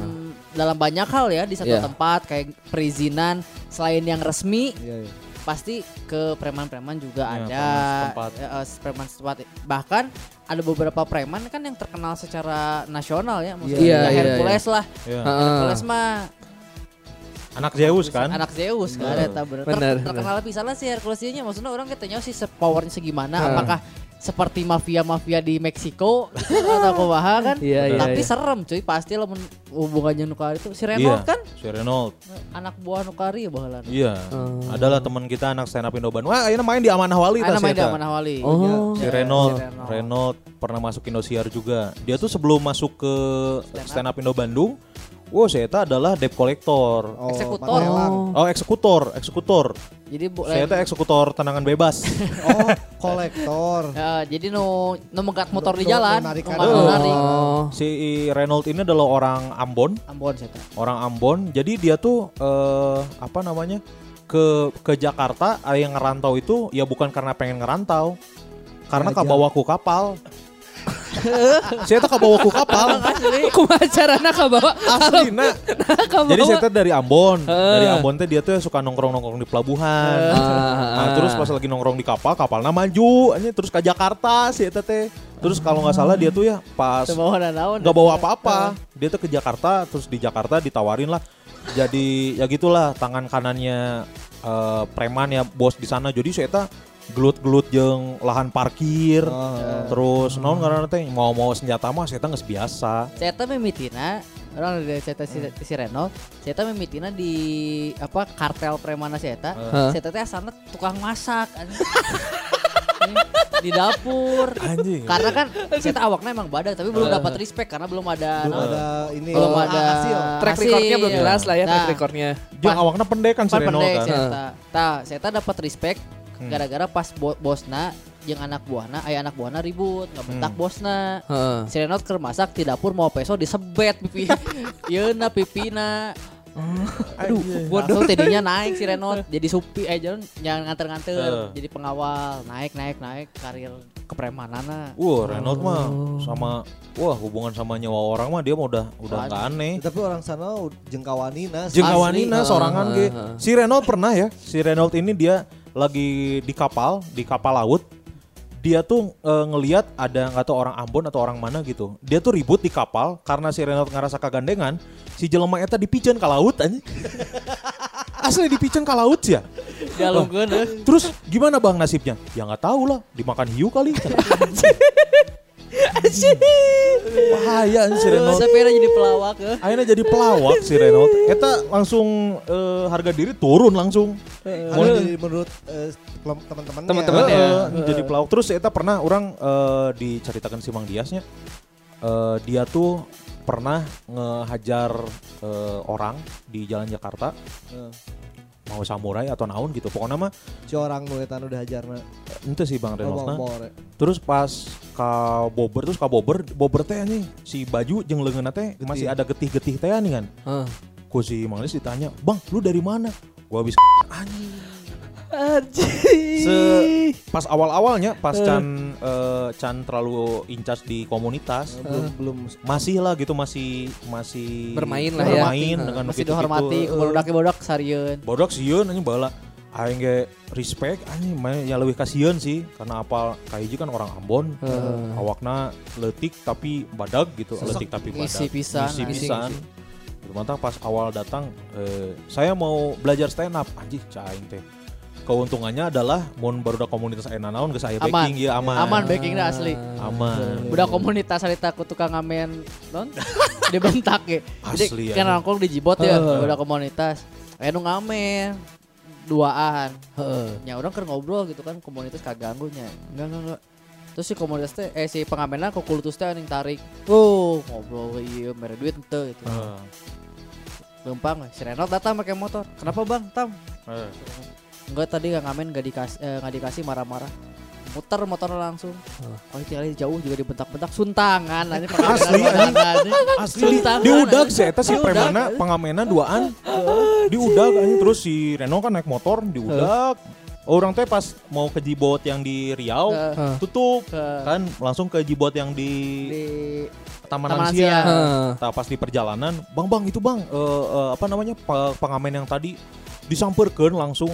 B: dalam banyak hal ya di satu
C: Iya.
B: tempat kayak perizinan selain yang resmi
D: Iya, iya.
B: pasti ke preman-preman juga
A: Ya,
B: ada
A: preman setempat.
B: Eh, eh, preman setempat bahkan ada beberapa preman kan yang terkenal secara nasional ya maksudnya ya
D: Iya,
C: iya,
B: Hercules lah
A: Iya.
C: Heeh.
B: Hercules mah
A: Anak Zeus kan?
B: anak Zeus kan
A: Bener.
B: eta bener.
C: Bener,
B: Ter- terkenal pisanlah si Herculesnya maksudnya orang katanya sih se- powernya segimana apakah seperti mafia-mafia di Meksiko gitu, atau kumaha kan
C: Iya, iya,
B: tapi
C: iya.
B: serem cuy pasti lamun hubungannya nukar itu si Renault kan
A: Iya. Si Renault.
B: anak buah nukari baheulana
A: Iya.
B: Oh.
A: Adalah teman kita anak stand up Indoban. Wah, ayeuna main di Amanah Wali
B: Ana
A: tas
B: main di
A: eta.
B: Amanah Wali
C: Oh.
A: Si
B: Ya,
A: Renault,
B: si Renault.
A: Renault pernah masuk Indosiar juga. Dia tuh sebelum masuk ke
B: Stand up.
A: stand up Indo Bandung, wow, saya eta adalah debt collector.
D: Oh,
B: Eksekutor.
D: Panelang.
A: Oh, eksekutor, eksekutor.
B: jadi bu,
A: Saya eta eksekutor tenangan bebas.
D: Oh, kolektor.
B: Ya, jadi nu nu megat motor di
D: Nu- nu
B: jalan,
D: narik
B: nu
D: ada.
B: makan
D: Oh.
B: narik.
A: si Renault ini adalah orang Ambon,
B: Ambon saya teh.
A: orang Ambon. Jadi dia tuh eh, apa namanya? ke ke Jakarta ada yang ngerantau itu ya bukan karena pengen ngerantau. Karena
D: Ngajak.
A: kabawa ku kapal. saya tuh kabawa ku kapal.
C: Kumaha carana kabawa?
A: Aslina.
C: Kabawa.
A: Jadi saya teh dari Ambon, dari Ambon teh dia tuh suka nongkrong-nongkrong di pelabuhan. Nah, terus pas lagi nongkrong di kapal, kapalnya maju, anjing terus ke Jakarta si eta teh. Terus kalau nggak salah dia tuh ya pas
B: Semua naon.
A: nggak bawa apa-apa, dia tuh ke Jakarta, terus di Jakarta ditawarin lah. Jadi ya gitulah tangan kanannya eh, preman ya bos di sana. Jadi si eta gelut-gelut jeung lahan parkir.
D: Oh.
A: Terus naon karena teh mau-mau senjata mah si eta geus biasa.
B: Saya teh mimitina orang dari saya teh si, si Renault, saya teh mimitina di apa kartel premana saya teh. Saya teh teh asalna tukang masak. anjing. di dapur.
A: Anjing.
B: Karena kan saya teh awakna emang badak tapi belum dapat respect karena belum ada
D: Belum
B: naon,
D: Kan ada ini. ya.
B: belum ada
D: hasil.
C: track recordnya belum
B: hasil.
C: jelas lah ya track
B: Nah,
C: recordnya.
A: Jeung awakna pendek kan si
B: Pan
A: Renault
B: pendek iya.
A: kan. Hmm.
B: Seta. ya Ta, Seta dapat respect gara-gara pas bo- bosna jeung anak buahna, aya anak buahna ribut,
A: Hmm.
B: ngebentak bosna.
C: Heeh.
B: Si Renot keur masak di dapur mau peso disebet pipi. Yeuna pipina. Aduh, waduh tadinya naik si Renot jadi supi eh jangan jangan nganter-nganter,
A: Heeh.
B: jadi pengawal, naik naik naik karir kepremanana.
A: Wah, Renault mah sama wah hubungan sama nyawa orang mah dia mah udah udah
B: Soalnya.
A: nggak aneh.
D: Tapi orang sana oh, jengkawani nas.
A: Jeung kawanina nah,
C: Asli.
A: sorangan
C: Ah,
A: ge.
C: ah, ah.
A: Si Renault pernah ya. Si Renault ini dia lagi di kapal, di kapal laut. Dia tuh eh, ngeliat ada nggak tahu orang Ambon atau orang mana gitu. Dia tuh ribut di kapal karena si Renault ngerasa kagandengan. Si jelema eta dipijen ke laut anjing. Asli dipijen ke laut ya.
B: Galungkeun eh.
A: Terus gimana bang nasibnya? Ya nggak tahu lah, dimakan hiu kali. Bahaya si Renault.
B: Sepeda jadi pelawak eh.
A: Akhirnya jadi pelawak si Renault. Eta langsung eh, harga diri turun langsung.
D: Kalau jadi menurut eh, kelom- teman-temannya.
C: Teman-teman.
A: Eh,
C: ya.
A: eh, jadi pelawak. Terus Eta pernah orang eh, diceritakan si Mang Diasnya. eh, dia tuh pernah ngehajar eh, orang di jalan Jakarta
D: Eh,
A: mau samurai atau naon gitu. Pokoknya mah
D: Si orang nu eta nu dihajarna.
A: ente sih Bang Renault.
D: Oh, bor- bor.
A: Terus pas ka bober terus ka bober, bober teh nih si baju jeung leungeunna teh masih ada getih-getih teh nih kan.
C: Heeh.
A: Ku si Mang Dias ditanya, "Bang, lu dari mana?" Gua habis anjing. Se- pas awal-awalnya pas Chan eh, Chan terlalu incas di komunitas
D: Belum belum
A: masih lah gitu masih masih
C: Bermain lah ya.
A: bermain
C: Heeh.
A: dengan
B: Masih
A: gitu-gitu.
B: dihormati,
A: Eh,
B: bodak bodak sarieun.
A: bodak sieun anjing bala aing ge respect anjing mah ya leuwih kasihan sih karena apal kahiji kan orang Ambon
B: Eh.
A: awakna leutik tapi badag gitu
D: Sesek.
A: leutik tapi badag
B: Ngisi pisan,
A: Ngisi
B: anjing.
A: pisan. Bermantang pas awal datang, eh, saya mau belajar stand up. Anjir, caing teh. Keuntungannya adalah mun baru komunitas ena naon geus aya
B: Aman.
A: backing ya aman.
B: Aman backingnya asli.
A: Aman.
B: Udah komunitas harita ku tukang ngamen non dibentak ge.
A: Asli,
B: Jadi
A: anjing.
B: kan rangkong dijibot ya udah komunitas. Eh nu ngamen duaan. Ya orang kan ngobrol gitu kan komunitas kaganggu nya. Enggak enggak enggak. Terus si komunitas teh eh si pengamenan kok kulutus teh anjing tarik. Oh, ngobrol we ieu mere duit henteu gitu.
A: Heeh.
B: Lempang, si Renot datang pakai motor. Kenapa bang? Tam?
A: Heeh.
B: Enggak tadi nggak ngamen nggak dikasih eh, nggak dikasih marah-marah. Muter motor langsung. Oh, tinggal jauh juga dibentak-bentak suntangan anjing
A: Asli, anjing. Asli di- diudag sih eta si
B: Diudag.
A: Pemana pengamena duaan. diudag anjing terus si Reno kan naik motor diudag. Orang teh pas mau ke Jibot yang di Riau
B: Heeh.
A: tutup
B: Heeh.
A: kan langsung ke Jibot yang di,
B: di eh,
A: Taman,
B: Taman
A: Lansia.
B: Lansia.
C: Heeh.
A: Nah, pas di perjalanan, bang bang itu bang eh, eh, apa namanya pe- pengamen yang tadi disamperkan langsung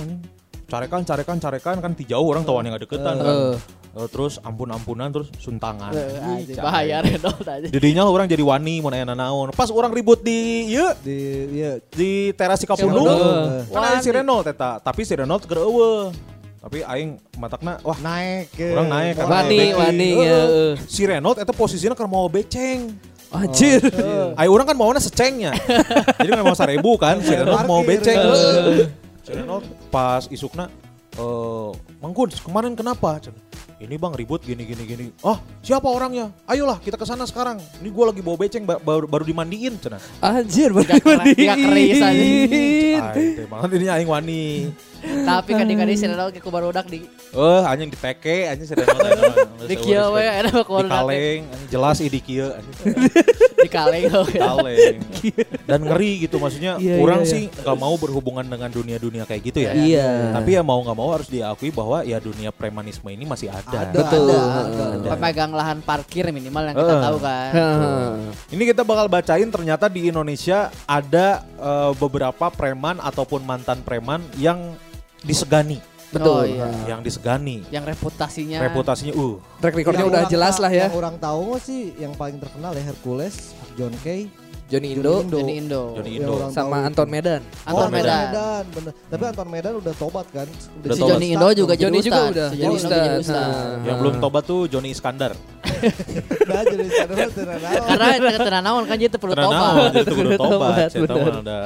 A: carekan carekan carekan kan ti jauh orang tawannya nggak deketan kan.
C: Heeh.
A: Eh, terus ampun ampunan terus suntangan.
B: eh,
A: Ih,
B: anjing,
A: cai.
B: bahaya Renot aja.
A: Jadinya orang jadi wani mau nanya naon. Pas orang ribut di ieu
D: Di iya.
A: di teras Cikapundung.
C: Cikapundung.
A: Kan aya si Reno teta, tapi si Reno keur eueuh. Tapi aing matakna wah
D: Naik. eh.
A: Orang naik,
D: Orang
C: Wani,
D: naik.
C: wani,
D: Heeh.
C: ya.
A: si Reno eta posisinya keur mau beceng.
C: Anjir.
A: Ayo orang kan maunya secengnya. Jadi memang seribu kan, si Renot mau
D: Parkir.
A: beceng.
D: Heeh.
A: Si Renot pas isukna, eh Mang Guns, kemarin kenapa? Cen, Ini bang ribut gini gini gini. Ah siapa orangnya? Ayolah kita ke sana sekarang. Ini gua lagi bawa beceng ba- baru, baru dimandiin. Cina.
C: Anjir, baru
B: Tiga keris- tiga
C: dimandiin.
B: keris, anjing.
A: banget ini aing wani.
B: Tapi kan kadang-kadang si Renot ke barudak di
A: Eh anjing diteke, anjing si Renot. ayeuna mah.
B: di kieu we
A: Di
B: enak mah barudak teh.
A: kaleng, anjing jelas i di kieu. anjing.
B: Di kaleng we.
A: kaleng dan ngeri gitu maksudnya
C: Iya,
A: orang
C: iya,
A: sih nggak mau berhubungan dengan dunia-dunia kayak gitu ya
C: Iya.
A: tapi ya mau nggak mau harus diakui bahwa ya dunia premanisme ini masih ada,
D: Ada,
C: Betul.
D: ada, ada, ada.
B: Pemegang lahan parkir minimal yang kita
A: Heeh.
B: tahu kan.
C: Heeh.
A: ini kita bakal bacain ternyata di Indonesia ada eh, beberapa preman ataupun mantan preman yang disegani
C: Betul.
B: Oh, iya.
A: yang disegani
B: Yang reputasinya
A: reputasinya uh
C: Track
D: Yang
C: recordnya udah
D: orang
C: jelas
D: ta-
C: lah ya.
D: Yang orang tahu mah sih yang paling terkenal ya Hercules, John Kay, Johnny
C: Johnny Indo
D: Indo.
B: Jadi Indo.
A: Johnny
D: Yang
A: Indo.
D: orang
C: sama
D: tahu.
C: Anton Medan.
B: Anton
A: Oh,
B: Medan.
D: bener. Tapi Anton Medan udah tobat Nah, kan?
A: Udah
B: Si
A: tobat.
B: Johnny Indo juga jadi
C: Johnny juga
B: ustad.
C: udah.
B: Si Johnny Indo jadi
C: Ustad.
B: ustad.
C: Nah.
A: yang belum tobat tuh Johnny Iskandar
D: Udah Nah, jadi sadar tenan
B: Karena tenang naon kan jadi perlu
A: Tenang,
B: tobat.
A: jadi perlu
C: Perlu
A: tobat
C: tobat,
A: Saya tahu
C: bener.
A: ada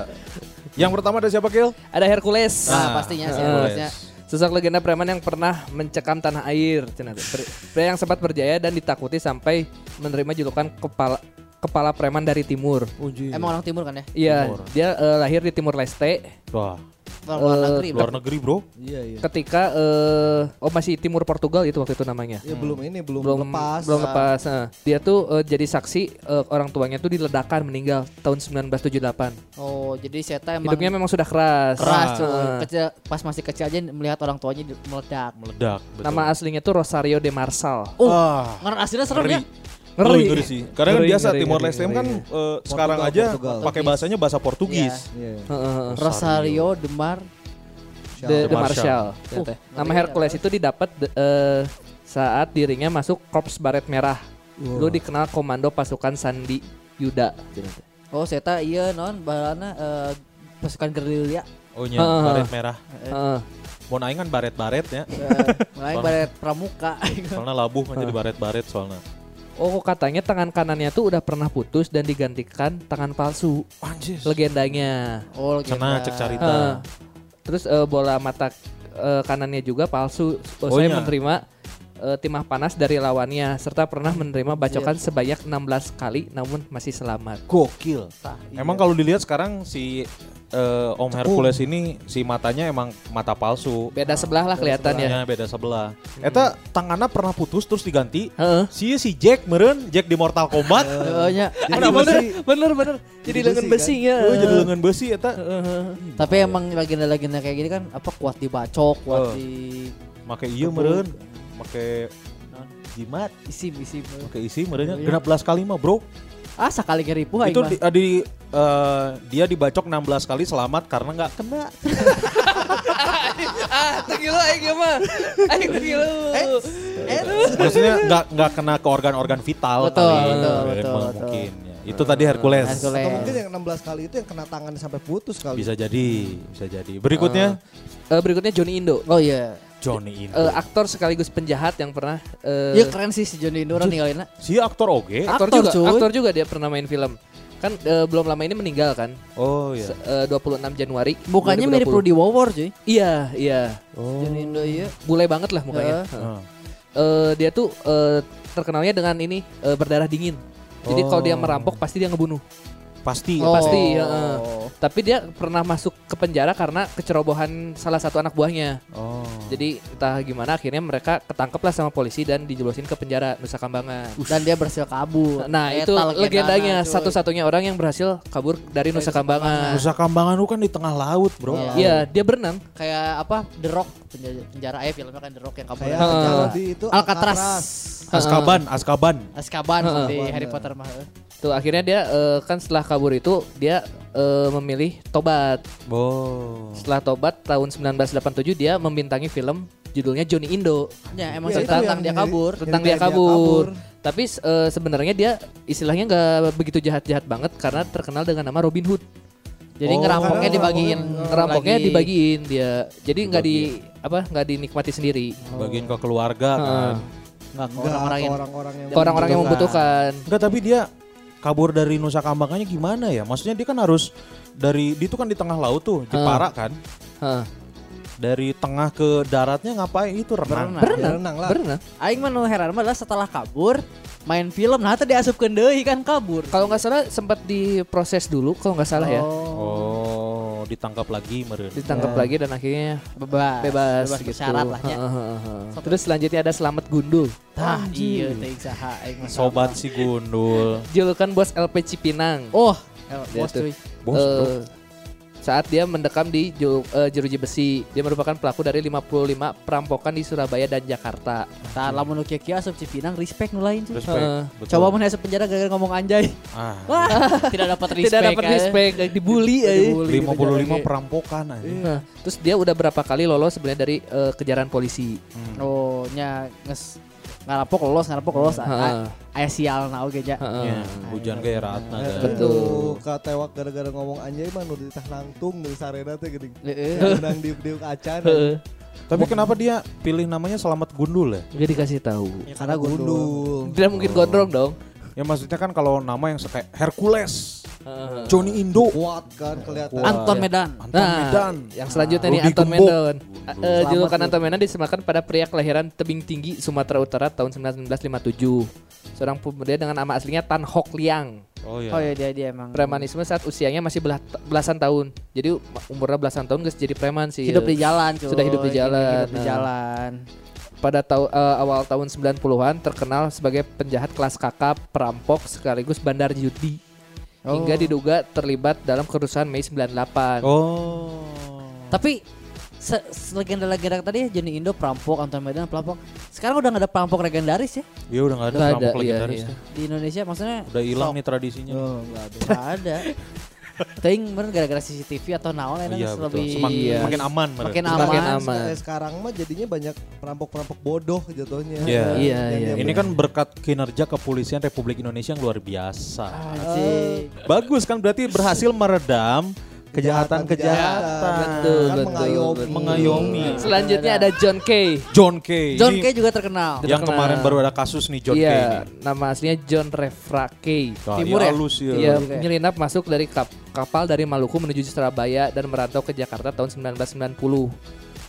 A: yang pertama ada siapa Kil?
C: Ada Hercules.
B: Nah, pastinya sih
C: Ah.
B: harusnya.
C: Sosok legenda preman yang pernah mencekam tanah air, cenah teh. Pre- pre- yang sempat berjaya dan ditakuti sampai menerima julukan kepala kepala preman dari timur.
B: Emang orang timur kan ya?
C: Iya,
A: Timur. Iya.
C: dia eh, lahir di Timur Leste
A: Wah,
B: Orang luar
C: Eh,
B: negeri.
A: luar negeri bro.
D: Iya iya.
C: ketika eh, oh masih Timur Portugal itu waktu itu namanya.
D: Ya belum ini belum,
C: Belum
D: lepas. Iya.
C: belum lepas. nah. dia tuh eh, jadi saksi eh, orang tuanya tuh diledakan meninggal tahun 1978.
B: Oh, jadi Seta emang
C: Hidupnya memang sudah keras.
B: keras
C: Ah.
B: tuh. Kecil, pas masih kecil aja melihat orang tuanya di- meledak.
A: meledak. Betul.
C: Nama aslinya tuh Rosario de Marsal.
B: Oh,
A: Ah.
B: ngar aslinya serem
A: Ngeri.
B: ya.
A: Ngeri.
C: Ngeri.
A: ngeri sih. Karena kan
C: Ngeri,
A: biasa
C: ngeri,
A: Timor
C: ngeri,
A: Leste
C: ngeri.
A: kan eh, sekarang aja
D: Portugal.
A: pakai bahasanya bahasa Portugis.
D: Iya.
C: Heeh.
B: Rosario Demar
C: The,
A: The
C: The
A: Marshal.
C: Marshal.
B: Oh,
C: Teh.
B: ngeri
C: Nama
B: ya,
C: Hercules itu didapat de- eh, saat dirinya masuk Korps Baret Merah. Dulu dikenal Komando Pasukan Sandi Yuda.
B: Oh, Seta iya non balana eh, pasukan gerilya.
A: Oh nya,
C: Iya. Heeh.
A: baret merah.
C: Heeh.
A: Mau naik kan baret-baret ya.
B: Mulai baret Eh, pramuka.
A: Soalnya labuh kan jadi baret-baret soalnya.
C: Oh katanya tangan kanannya tuh udah pernah putus dan digantikan tangan palsu.
A: Anjir.
C: Legendanya.
B: Oh,
A: Cenah
B: legenda.
A: cek carita.
C: Heeh. Terus eh, bola mata eh, kanannya juga palsu. Oh,
A: Oh,
C: saya
A: iya.
C: menerima eh, timah panas dari lawannya serta pernah menerima bacokan sebanyak 16 kali namun masih selamat.
A: Gokil.
B: Tah, iya.
A: Emang kalau dilihat sekarang si eh, Om Hercules ini si matanya emang mata palsu.
C: Beda sebelah lah kelihatannya.
A: Matanya beda sebelah. Hmm. Eta tangannya pernah putus terus diganti.
C: Heeh.
A: Si si Jack meren Jack di Mortal Kombat.
B: Heeh, nya.
D: Jadi
C: bener,
D: besi-
C: bener, bener. Jadi
D: Jadi
C: lengan
D: besi,
C: besi ya.
B: eh,
A: Oh, jadi lengan besi eta
B: Tapi emang legenda-legenda kayak gini kan apa kuat dibacok, kuat
A: Oh.
B: di
A: make ieu meureun, make jimat.
B: isim isim.
A: Oke isi merenya genap belas kali mah bro
B: Ah, sakali geripuh aing
A: Itu
B: mah.
A: di, ah, di, eh, dia dibacok 16 kali selamat karena nggak kena
C: Ah, tegilu aing ya mah. Aing tegilu.
D: Eh,
A: Maksudnya nggak nggak kena ke organ-organ vital
B: Betul,
A: kali
B: betul,
A: Mungkin,
B: betul,
A: mah,
B: betul.
A: Mungkin ya. Itu tadi Hercules.
B: Hercules.
D: Atau mungkin yang 16 kali itu yang kena tangan sampai putus kali.
A: Bisa jadi, bisa jadi. Berikutnya
C: Eh, berikutnya Johnny Indo.
B: Oh iya.
A: Johnny Indo.
C: Eh, aktor sekaligus penjahat yang pernah eh,
B: Iya keren sih si Johnny Indo orang ninggalin ah.
A: si aktor oge.
B: aktor,
C: aktor, juga
B: cuy.
C: aktor juga dia pernah main film kan eh, belum lama ini meninggal kan
A: Oh iya.
C: Se- eh, 26 Januari
B: Mukanya mirip
C: 2020.
B: Rudy Wawor cuy.
C: iya iya
B: Johnny Indo iya.
C: bule banget lah mukanya Heeh.
A: Heeh.
C: Eh, dia tuh eh, terkenalnya dengan ini eh, berdarah dingin jadi kalau dia
A: Oh.
C: merampok pasti dia ngebunuh
A: Pasti.
B: Oh.
A: pasti.
C: Iya, pasti heeh. tapi dia pernah masuk ke penjara karena kecerobohan salah satu anak buahnya
A: Oh.
C: jadi entah gimana akhirnya mereka ketangkep lah sama polisi dan dijeblosin ke penjara Nusa Kambangan
B: Dan dia berhasil kabur.
C: Nah itu
B: Eta
C: legendanya
B: cuy.
C: satu-satunya orang yang berhasil kabur dari Nusa Kambangan.
A: Nusa Kambangan itu kan di tengah laut, Bro.
B: Iya.
C: Iya dia berenang.
B: Kayak apa? The Rock penjara, penjara eh filmnya kan The Rock yang kabur.
D: Kayak
C: Heeh.
D: kalau di itu
B: Alcatraz.
A: Azkaban, Azkaban.
B: Azkaban
C: Heeh.
B: di Harry Potter mah. Ya, heeh.
C: Tuh akhirnya dia eh, kan setelah kabur itu dia eh, memilih tobat.
A: Oh.
C: Setelah tobat tahun 1987 dia membintangi film judulnya Johnny Indo
B: Ya emang
D: Iya,
B: cerita
D: itu
B: tentang
D: yang
B: dia
D: Harry-
B: kabur.
D: Jadi
C: tentang dia
D: kayak dia
C: kabur.
D: kabur.
C: Tapi eh, sebenarnya dia istilahnya nggak begitu jahat-jahat banget karena terkenal dengan nama Robin Hood.
B: Jadi
A: Oh,
B: ngerampoknya
D: karena
B: dibagiin,
C: Rampoknya
B: lagi.
C: dibagiin dia. Jadi nggak di apa nggak dinikmati sendiri.
A: Bagiin ke keluarga kan.
B: Nggak ke orang-orang
D: Orang-orang
B: yang
D: orang-orang yang
C: Ke orang-orang yang membutuhkan.
A: Enggak, tapi dia kabur dari Nusa Kambangannya gimana ya? Maksudnya dia kan harus dari dia itu kan di tengah laut tuh, di
C: Heeh.
A: Parak kan.
C: Heeh.
D: Nah,
A: Dari tengah ke daratnya ngapain itu renang.
B: Berenang.
D: Ya, renang lah.
C: Berenang.
B: Aing mah nu heran mah adalah setelah kabur main film nah tadi diasupkeun deui kan kabur.
C: Kalau nggak salah sempat diproses dulu kalau nggak salah ya.
A: Oh, ditangkap lagi meren.
D: iya.
C: Ditangkap lagi dan akhirnya
D: Ah,
B: Bebas.
C: bebas, gitu.
B: bersyarat lah
D: ya.
B: nya.
C: Terus selanjutnya ada Selamat Gundul.
B: Tah iya teh saha aing mah.
A: Sobat si Gundul.
C: Julukan bos LP Cipinang.
B: Oh, el-
C: Dia
B: bos
C: tuh.
B: cuy.
A: Bos,
C: Eh,
A: bro.
C: saat dia mendekam di ju- eh, jeruji besi. Dia merupakan pelaku dari 55 perampokan di Surabaya dan Jakarta.
B: Tah lamun nu kieu asup Cipinang respect nu lain cuy.
A: Respect.
C: eh,
A: betul.
B: Coba mun asup penjara gara-gara ngomong anjay.
A: Ah.
B: Wah, tidak dapat respect.
C: Tidak dapat
B: kan.
C: respect, eh. dibully eh.
B: Dibully gitu
A: 55
B: jalannya.
A: perampokan aja.
C: Nah, terus dia udah berapa kali lolos sebenarnya dari eh, kejaran polisi.
B: Oh, nya nges ngarampok lolos, ngarampok lolos.
C: Heeh.
B: a- a- Aya sial na oge nya.
C: Heeh. Iya.
A: Ya, hujan kayak ratna
D: Eh,
A: kan.
C: Betul.
D: Betul. Katewak gara-gara ngomong anjay mah nu ditah nangtung di sarena teh geuning.
B: Heeh.
D: Renang diuk-diuk acan.
C: Iya. Heeh.
A: Tapi kenapa dia pilih namanya Selamat Gundul ya?
C: Gak dikasih tahu.
B: Ya,
D: Karena gundul.
C: Tidak mungkin gondrong dong.
A: Ya maksudnya kan kalau nama yang kayak Hercules, Johnny Indo,
D: Kuat kan kelihatan.
A: Kuat.
B: Anton Medan.
A: Anton
C: Nah,
A: Medan.
C: yang selanjutnya nih
A: Rudy
C: Anton
A: Gembok.
C: Mendon. A- eh,
D: Selamat
C: julukan
D: lu.
C: Anton Mendon disematkan pada pria kelahiran Tebing Tinggi, Sumatera Utara tahun 1957. Seorang pemuda dengan nama aslinya Tan Hock Liang.
A: Oh
B: Oh iya dia dia emang.
C: Premanisme saat usianya masih belah- belasan tahun. Jadi um- umurnya belasan tahun guys jadi preman sih.
B: Hidup di jalan cuy. Iya,
C: Sudah hidup di
B: Hidup
C: jalan.
B: di
C: Nah.
B: jalan.
C: Pada tau- eh, awal tahun 90-an terkenal sebagai penjahat kelas kakap, perampok sekaligus bandar judi. Hingga diduga terlibat dalam kerusuhan Mei 98.
A: Oh.
B: Tapi se- se- legenda-legenda tadi ya Johnny Indo perampok, Anton Medan perampok. Sekarang udah nggak ada perampok legendaris ya
A: Ya udah nggak ada
C: Nggak ada,
A: perampok
C: iya,
A: legendaris.
C: iya.
A: tuh.
B: di Indonesia. Maksudnya
A: Udah hilang nih tradisinya.
D: Oh, enggak ada.
B: nggak ada. Ting bener gara-gara CCTV atau naon enak
A: iya betul.
B: lebih
A: Semakin
C: Iya.
A: makin aman meren.
B: makin aman.
C: Semakin
D: Terus
C: aman.
D: kayak sekarang mah jadinya banyak perampok-perampok bodoh jatuhnya.
A: Iya.
C: Iya,
D: Yang
C: iya.
D: dia
A: Ini kan berkat kinerja kepolisian Republik Indonesia yang luar biasa.
B: Ah, Anjing.
A: Bagus kan berarti berhasil meredam kejahatan-kejahatan.
C: Betul,
D: kan
C: betul,
D: mengayomi.
C: betul.
A: Mengayomi.
C: Iya. Selanjutnya ada John Kay.
A: John Kay.
B: John
A: Ini
B: Kay juga terkenal.
A: Yang
C: Terkenal.
A: kemarin baru ada kasus nih John Kay.
C: Iya,
A: ini.
C: nama aslinya John Refrake.
A: Nah,
B: Timur
A: iya,
B: ya?
A: halus ya.
C: Iya,
B: Oke.
C: menyelinap masuk dari kap- kapal dari Maluku menuju Surabaya dan merantau ke Jakarta tahun 1990.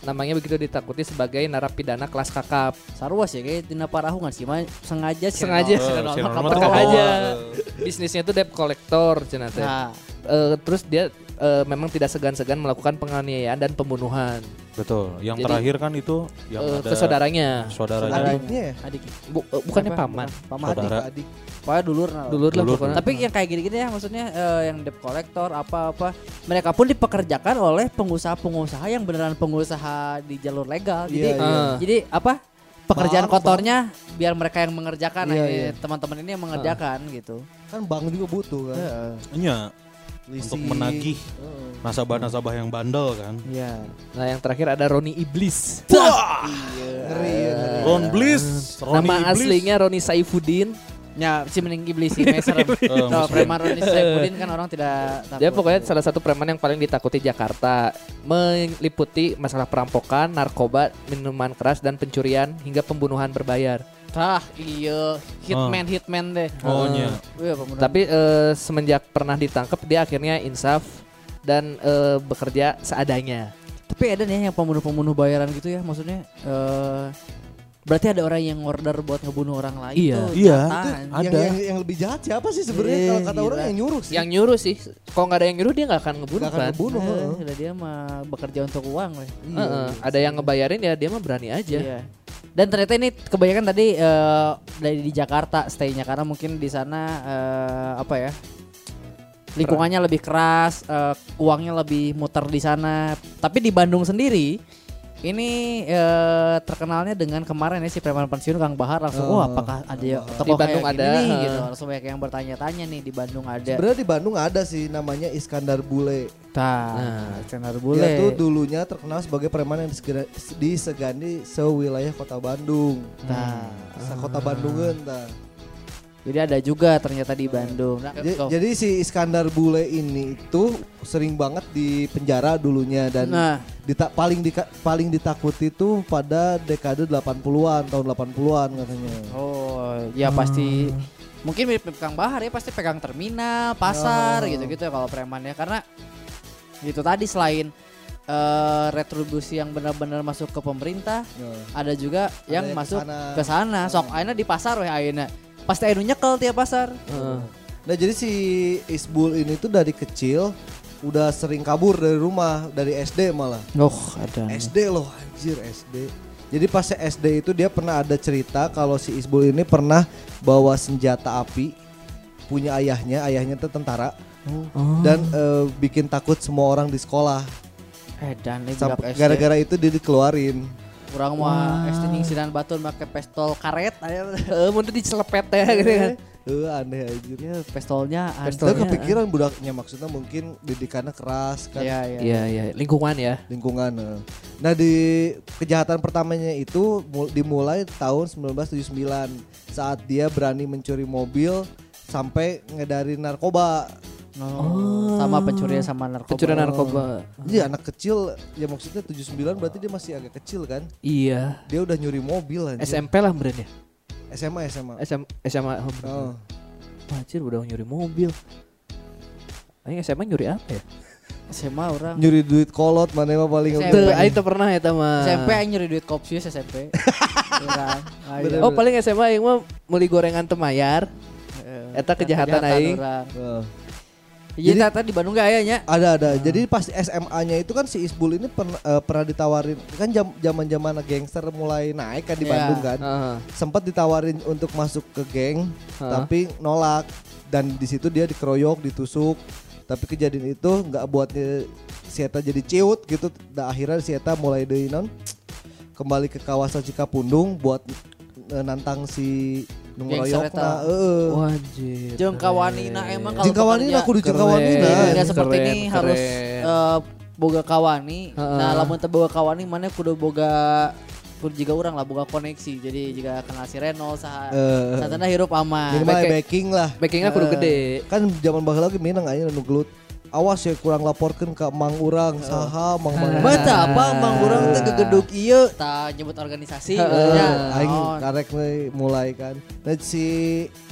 C: Namanya begitu ditakuti sebagai narapidana kelas kakap.
B: Sarwas ya kayak Tina Parahungan sih mah sengaja sih kenal.
C: Sengaja,
A: Eh,
C: Senonoh
A: si Nono
B: kapal
A: mah
B: kapal.
A: terkenal.
C: aja.
A: Eh,
C: Bisnisnya itu debt collector, cenah teh.
B: Nah,
C: Eh, terus dia eh, memang tidak segan-segan melakukan penganiayaan dan pembunuhan
A: Betul. Yang
C: Jadi,
A: terakhir kan itu yang
C: eh,
A: ada
C: ke saudaranya.
A: saudaranya.
D: Adiknya ya?
B: adik.
C: Bu- eh, bukannya paman.
D: Paman adik,
A: Saudara.
D: adik.
B: Pokoknya dulur nah.
C: Dulur lah
A: Dulur.
C: pokoknya.
B: Tapi yang kayak gini-gini ya maksudnya eh, yang debt collector apa-apa mereka pun dipekerjakan oleh pengusaha-pengusaha yang beneran pengusaha di jalur legal. Jadi
D: Iya, iya.
C: Ah.
B: eh, jadi apa? Pekerjaan
D: Bang,
B: kotornya biar mereka yang mengerjakan nah,
D: Iya,
B: ini
D: iya.
B: teman-teman ini yang mengerjakan gitu.
D: Kan bank juga butuh kan.
A: Iya,
D: Leasing.
A: untuk menagih
D: Heeh.
A: nasabah-nasabah yang bandel kan.
B: Iya.
C: Nah, yang terakhir ada Roni Iblis.
A: Wah,
D: Ngeri ya. ngeri.
C: Iya.
A: Ron Bliss, Ronnie
C: Nama
A: Iblis.
C: aslinya Roni Saifuddin.
B: Ya, si mending iblis sih, serem. Kalau preman Roni Saipudin kan orang tidak takut.
C: Dia pokoknya salah satu preman yang paling ditakuti Jakarta meliputi masalah perampokan, narkoba, minuman keras dan pencurian hingga pembunuhan berbayar.
B: Tah, iya hitman hitman deh.
A: Oh, iya.
B: Wih, pembunuhan.
C: Tapi eh, semenjak pernah ditangkap dia akhirnya insaf dan eh, bekerja seadanya.
B: tapi ada nih yang pembunuh-pembunuh bayaran gitu ya, maksudnya eh berarti ada orang yang order buat ngebunuh orang lain
C: Iya.
B: tuh.
A: Iya,
B: jatah,
A: itu
B: anjing.
A: ada.
D: Yang, yang, yang lebih jahat siapa sih sebenarnya
B: Eh,
D: kalau kata orang
B: gila.
D: yang nyuruh sih.
C: Iya, Yang nyuruh sih, kalau nggak ada yang nyuruh dia nggak akan ngebunuh
D: Gak akan
C: kan.
D: kebunuh.
B: Eh,
D: heeh.
B: udah dia mah bekerja untuk uang weh.
D: Iya.
C: Eh, eh, ada yang ngebayarin ya dia mah berani aja.
B: Iya. Dan ternyata ini kebanyakan tadi eh, dari di Jakarta stay-nya karena mungkin di sana eh, apa ya? Lingkungannya lebih keras, eh, uangnya lebih muter di sana. Tapi di Bandung sendiri ini eh, terkenalnya dengan kemarin ya si preman pensiun Kang Bahar langsung
D: Oh.
B: wah apakah ada tokoh
C: Di Bandung
B: kayak gini
C: ada,
B: nih?"
C: eh.
B: gitu. Langsung banyak yang bertanya-tanya nih di Bandung ada.
D: Sebenarnya di Bandung ada sih namanya Iskandar Bule.
B: Tah, Iskandar
D: Dia
B: Bule.
D: tuh dulunya terkenal sebagai preman yang disegera- disegani sewilayah kota Bandung.
C: Nah.
B: Tah.
D: Sa kota
C: Ah.
D: Bandungan tah.
B: Jadi ada juga ternyata di Bandung. Nah, so-
D: Ja- Jadi si Iskandar Bule ini itu sering banget di penjara dulunya dan
B: Nah.
D: dita- paling dika- paling ditakuti tuh pada dekade 80-an, tahun 80-an katanya.
B: Oh, ya pasti mungkin mirip Kang Bahar ya pasti pegang terminal, pasar gitu-gitu ya kalau preman ya karena itu tadi selain eh, retribusi yang benar-benar masuk ke pemerintah,
D: Ya.
B: ada juga yang
D: yang
B: masuk
D: kesana.
B: ke sana. Oh. Sok ayeuna di pasar weh ayeuna. Pasti ayeuna nyekel tiap pasar.
D: Nah, jadi si Isbul ini tuh dari kecil udah sering kabur dari rumah, dari SD malah.
B: Oh, ada.
D: SD loh anjir SD. Jadi pas SD itu dia pernah ada cerita kalau si Isbul ini pernah bawa senjata api punya ayahnya, ayahnya itu tentara. Dan eh, bikin takut semua orang di sekolah.
B: Edan nih
D: Sampai
B: budak SD.
D: gara-gara itu dia dikeluarin.
B: Kurang mah SD ning sinan batur make pistol karet ayeuna.
C: Eh, mundur dicelepet ya gitu kan.
B: Iya.
D: Eh aneh anjir.
B: Ya, pistolnya ada.
D: Itu kepikiran budaknya maksudnya mungkin didikannya keras kan.
B: Iya, iya.
C: Iya iya, lingkungan ya.
D: lingkungan. eh. Nah di kejahatan pertamanya itu mul- dimulai tahun 1979 saat dia berani mencuri mobil sampai ngedari narkoba.
B: Oh, sama pencurian sama narkoba.
C: Pencurian narkoba.
D: Iya anak kecil ya maksudnya 79 berarti dia masih agak kecil kan.
C: Iya.
D: Dia udah nyuri mobil anjir.
C: SMP lah brand ya.
D: SMA SMA.
C: SM, SMA. Oh.
D: Oh.
C: Anjir udah nyuri mobil. Aing SMA nyuri apa ya?
B: SMA orang.
D: Nyuri duit kolot mana mah paling
B: SMP.
C: Tuh, aing teu pernah eta mah.
B: SMP aing nyuri duit kopsius SMP. Orang.
D: Bener.
C: Oh paling SMA aing mah meuli gorengan temayar. Eta kejahatan aing.
D: Eh,
B: Iya ternyata di Bandung gak ayahnya.
D: Ada ada. Jadi pas SMA-nya itu kan si Isbul ini pern- eh, pernah ditawarin kan jam- zaman-zaman gangster mulai naik kan di
B: Iya.
D: Bandung kan.
C: Heeh.
D: sempat ditawarin untuk masuk ke geng
C: Hah?
D: tapi nolak dan di situ dia dikeroyok ditusuk tapi kejadian itu nggak buatnya Sieta jadi ciut gitu dan akhirnya Sieta mulai dari non kembali ke kawasan Cikapundung buat eh, nantang si
B: Gangster eta.
D: Nungroyokna heeh
C: Wajib.
B: Jengkawanina emang kalau
D: Jengkawanina
B: bekerja.
D: kudu
C: Keren.
D: jengkawanina
B: Jadi
C: Keren,
B: nggak seperti ini
C: keren.
B: harus eh, boga kawani.
C: Heeh.
B: Nah, lamun teu boga kawani mana kudu boga kudu juga orang lah boga koneksi. Jadi jika kenal si Reno saha
D: Eh.
B: satana hirup aman.
D: minimal
C: backing.
D: backing lah
C: Backingnya kudu gede.
D: kan zaman baheula lagi minang aja nu gelut awas ya kurang laporkan ke mang urang saha mang mang
B: Mata apa mang urang teh gegeduk ieu tah nyebut organisasi
D: Ya,
B: maksudnya.
D: aing
B: Naon.
D: karek we mulai kan. Dan si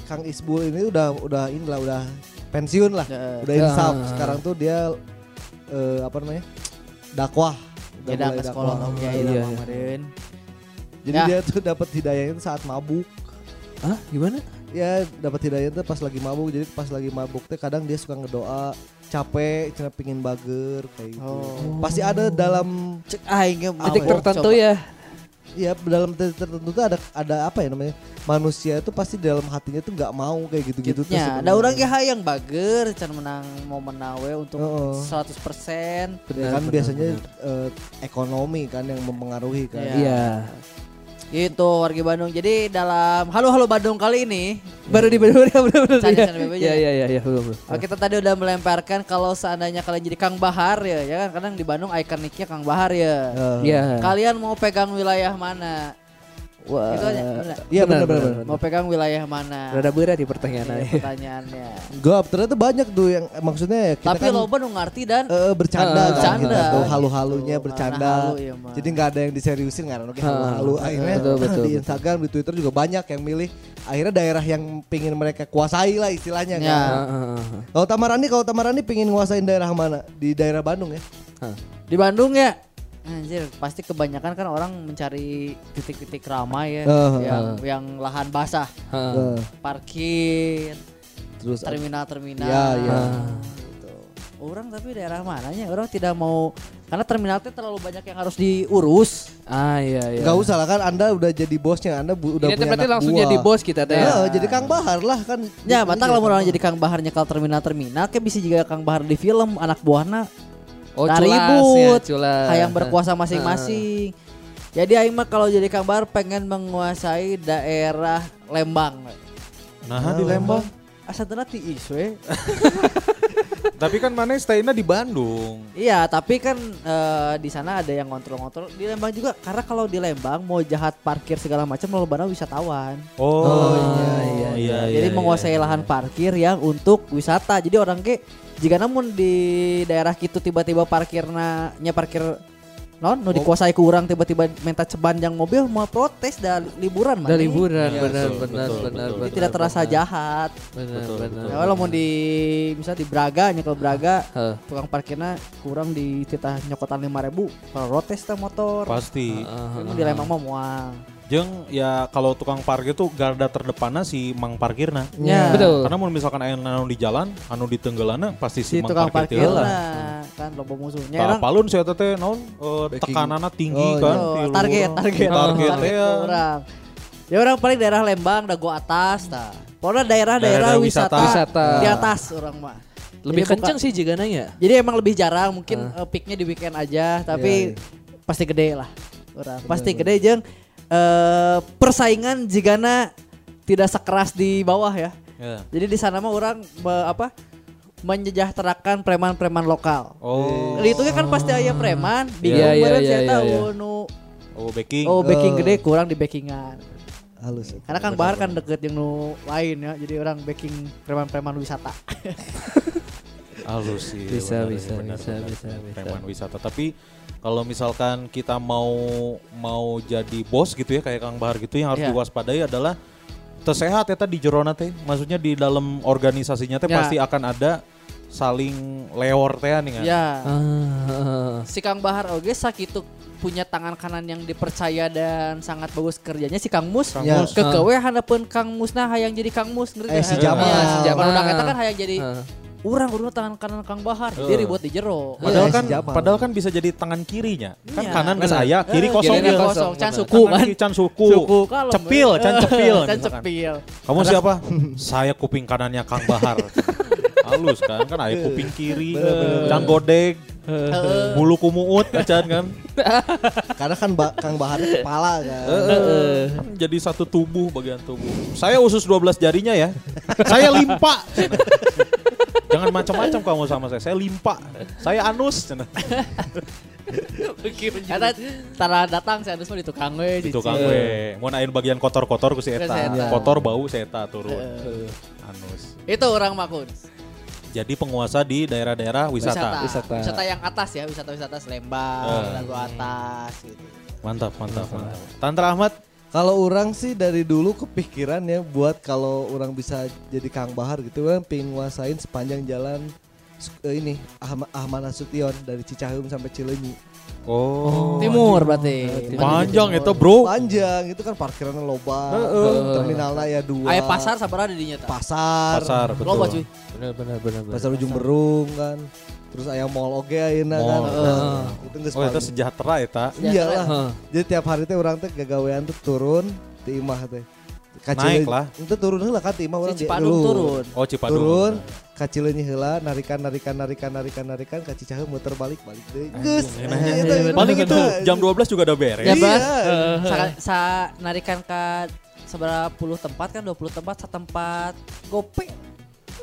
D: Kang Isbul ini udah udah inilah udah pensiun lah.
B: Ya.
D: Udah insaf. Sekarang tuh dia eh, apa namanya? dakwah. Udah
B: Beda
D: mulai
B: ke sekolah
D: dakwah.
B: oke
C: Iya,
B: iya
C: iya.
B: kemarin.
D: Jadi
B: Ya.
D: dia tuh dapat hidayah itu saat mabuk.
C: Hah, gimana?
D: Ya dapat hidayah itu pas lagi mabuk. Jadi pas lagi mabuk tuh kadang dia suka ngedoa capek, cina pingin bager kayak gitu.
B: Oh.
D: Pasti ada dalam
B: Cek aing ge mabok.
C: Titik
B: Coba.
C: tertentu ya.
D: ya dalam titik tertentu tuh ada ada apa ya namanya? Manusia itu pasti dalam hatinya tuh nggak mau kayak gitu-gitu tuh.
B: Nya,
D: sebenarnya.
B: da urang ge hayang bager can menang mau menawe untuk
D: Heeh.
B: 100%.
D: Ya kan biasanya eh, ekonomi kan yang mempengaruhi kan.
B: Iya.
C: Iya.
B: Gitu warga Bandung. Jadi dalam Halo Halo Bandung kali ini
C: Baru di baru ya benar benar.
B: Canda, canda, bebe,
C: Iya
B: canda.
C: iya iya iya belum belum.
B: oh, kita tadi udah melemparkan kalau seandainya kalian jadi Kang Bahar ya, ya kan kadang di Bandung ikoniknya Kang Bahar ya.
D: Eh,
C: Iya.
B: Kalian mau pegang wilayah mana?
C: Wah.
B: Itu aja, bener.
D: Iya benar benar. benar.
B: Mau pegang wilayah mana?
C: Rada berat di
B: Ini
C: pertanyaannya.
B: pertanyaannya.
D: Gap, ternyata banyak tuh yang eh, maksudnya ya kita
B: Tapi
D: kan
B: lo nu ngerti dan
D: eh, eh, bercanda,
C: Eh,
D: kan
B: bercanda,
D: kita tuh
B: gitu.
D: halu-halunya
B: Mana
D: bercanda.
B: halu, iya mah.
D: Jadi nggak ada yang diseriusin nggak oke
C: Ah,
D: halu-halu akhirnya
C: betul, betul,
D: di
C: betul.
D: Instagram di Twitter juga banyak yang milih akhirnya daerah yang pingin mereka kuasai lah
B: Ya.
D: istilahnya kan. Kalau Tamarani kalau Tamarani pingin nguasain daerah mana? Di daerah Bandung ya.
B: di Bandung ya. Anjir, pasti kebanyakan kan orang mencari titik-titik ramai ya,
D: Eh,
B: yang yang lahan basah,
D: Eh,
B: parkir,
D: terus eh.
B: terminal-terminal.
D: Ya, ya.
B: Gitu. Orang tapi daerah mananya? Orang tidak mau karena terminalnya terlalu banyak yang harus diurus.
C: Ah iya iya.
D: Gak usah lah kan Anda udah jadi bosnya, Anda bu- udah
C: Ini
D: punya
C: berarti
D: anak
C: langsung
D: buah.
C: jadi bos gitu kita teh.
D: Ya, jadi Kang Bahar lah kan.
C: Gitu
B: Ya, mata kalau
D: Iya,
B: orang jadi Kang Bahar nyekal terminal-terminal, kayak bisa juga Kang Bahar di film anak buahna
C: Oh,
B: Nah,
C: culas,
B: ribut.
C: ya, culas.
B: hayang berkuasa masing-masing. Jadi aing mah kalau jadi Kang Bahar pengen menguasai daerah Lembang.
A: Nah, di Lembang.
B: Asalna ti isu we.
A: Tapi kan mana stay-nya di Bandung.
B: Iya, tapi kan eh, di sana ada yang ngontrol-ngontrol di Lembang juga karena kalau di Lembang mau jahat parkir segala macam lolobana wisatawan.
A: Oh,
C: iya, iya,
A: iya,
B: Jadi
A: iya,
B: menguasai
A: iya.
B: lahan parkir yang untuk wisata. Jadi orang ke jika namun di daerah kitu tiba-tiba parkirna nya parkir non nu dikuasai ku urang tiba-tiba minta cebanjang mobil mau protes dan liburan mah.
C: Udah liburan,
A: Iya,
C: benar
A: betul,
C: benar
A: betul, betul.
C: benar.
B: Jadi
C: benar,
B: tidak terasa
C: benar.
B: jahat.
C: Benar
A: Betul,
C: benar.
A: betul.
B: Ya, kalau mau di misalnya di Braga nya kalau Braga
C: Heh.
B: tukang parkirnya kurang di titah nyokotan 5000 kalau protes teh motor.
A: Pasti.
B: Emang di Lembang mah muang.
A: Jeng ya kalau tukang parkir tuh garda terdepannya si mang parkirna.
B: Ya.
C: Betul.
A: Karena mau misalkan aya anu di jalan, anu di tenggelana pasti si,
B: Si
A: mang
B: tukang
A: parkir
B: parkir
A: teu lah.
B: lah kan loba musuhnya.
A: Tak
B: Orang-
A: apalun saya teh naon eh,
D: Backing.
A: tekanannya tinggi
D: Oh,
A: kan.
B: Oh,
A: ti luhur.
B: target, target,
C: Gitu.
A: Target teh ya.
B: orang. Ya orang paling daerah Lembang, dago atas, nah. Pokoknya daerah-daerah
A: Daerah-daerah
B: wisata,
C: wisata.
B: di atas orang mah. Jadi
C: Lebih
B: buka-
C: kenceng Ah. sih jika nanya.
B: Jadi emang lebih jarang, mungkin eh, peaknya di weekend aja,
C: Iya,
B: tapi pasti gede lah. Orang pasti gede jeung eh, persaingan jigana tidak sekeras di bawah ya.
A: Ya.
C: Iya.
B: Jadi di sana mah orang me- apa menyejahterakan preman-preman lokal.
A: Oh,
B: Itu kan pasti aya preman, bingung
C: Iya, iya,
B: meureun
C: iya,
B: sia
C: iya,
B: tahu
C: iya.
B: nu
A: oh backing.
B: Oh backing gede kurang di backingan
D: halus.
B: Karena Kang Bahar kan deket yang nu lain ya Jadi orang backing preman-preman wisata
A: halus sih.
C: Bisa,
A: bener,
C: bisa,
A: bener,
C: bisa,
A: bener.
C: bisa, bisa.
A: Preman wisata. Tapi kalau misalkan kita mau mau jadi bos gitu ya kayak Kang Bahar gitu yang harus
B: Iya.
A: diwaspadai adalah tersehat ya tadi jerona teh. Maksudnya di dalam organisasinya teh
B: Ya.
A: pasti akan ada saling leor teh nih kan.
B: Ya
C: Ah.
B: Si Kang Bahar oge sakitu punya tangan kanan yang dipercaya dan sangat bagus kerjanya si Kang Mus.
A: Kang
D: Ya.
A: Mus.
B: Kekewe hadapan Kang Musna hayang jadi Kang Mus ngerti
D: Eh,
B: nggak?
D: si Jamal.
B: Iya, si
D: Si
B: Jamal.
C: Jamal.
B: Kalau udah kata kan hayang jadi
C: Ah.
B: urang urang tangan kanan Kang Bahar. Dia ribut di jero.
D: Iya,
A: Padahal
D: si
A: kan
D: Jamal.
A: padahal kan bisa jadi tangan kirinya. Kan
B: Iya.
A: kanan ke
C: Benar.
A: saya, kiri
B: Eh,
A: kosong gitu.
B: kirinya
A: dia.
B: kosong, can
C: Benar.
B: suku
A: Kanan
B: kan.
A: kiri, can suku.
B: kalau Eh,
A: Cepil, can Kan cepil.
B: Can
A: misalkan.
B: cepil.
A: Kamu siapa? saya kuping kanannya Kang Bahar. Halus kan, kan ayah kuping kiri, can godeg,
B: Eh.
A: bulu kumuut, acan kan.
D: Karena kan Ba- Kang Bahar kepala kan.
B: Eh,
A: Kan Jadi satu tubuh bagian tubuh. Saya usus 12 jarinya ya. Saya limpa. cenah. Jangan macam-macam kamu sama saya. Saya limpa. Saya anus. cenah.
B: Karena tara datang si Anus mah di tukang we.
A: Di
B: cici.
A: tukang we. Mau naik bagian kotor-kotor ku si
B: Ku Iya. si
A: Eta.
B: Eta. Eh.
A: Kotor bau si Eta turun. Anus.
B: Itu orang Makuns.
A: Jadi penguasa di daerah-daerah wisata.
B: wisata.
C: Wisata.
B: yang atas ya, wisata-wisata Lembang, lagu atas gitu.
A: Mantap, mantap, mantap. Tantra Ahmad.
D: Kalau orang sih dari dulu kepikiran ya buat kalau orang bisa jadi Kang Bahar gitu kan pengen nguasain sepanjang jalan eh, ini Ahmad, Ahmad Nasution dari Cicaheum sampai Cileunyi.
A: Oh.
B: timur berarti.
A: Panjang itu
D: Oh.
A: bro.
D: Panjang itu kan parkirannya loba, terminalnya ya dua.
B: Aya pasar sabaraha di dinya tah?
D: pasar,
A: Pasar betul.
B: Loba cuy.
C: Benar benar benar. benar.
D: pasar ujung berung kan. Terus ayam mall oge ayeuna kan.
A: Mall.
D: Nah, itu geus
A: Oh itu
D: paling-
A: sejahtera eta.
D: Iyalah.
C: Heeh.
D: Jadi tiap hari teh orang teh gagawean teh turun di imah teh. Ka
A: Naik
D: Cileunyi.
A: lah.
D: Itu turun heula kan di imah
B: Si
D: urang di-
B: Cipadung
D: dulu.
B: turun.
A: Oh Cipadu.
D: Turun ka Cileunyi heula narikan narikan narikan narikan narikan ka Cicaheum muter balik balik deui. Geus.
A: Paling itu jam 12 juga udah beres.
B: Ya
D: Iya.
B: bas. Sa, sa narikan ka sabaraha puluh tempat kan 20 tempat satempat gope.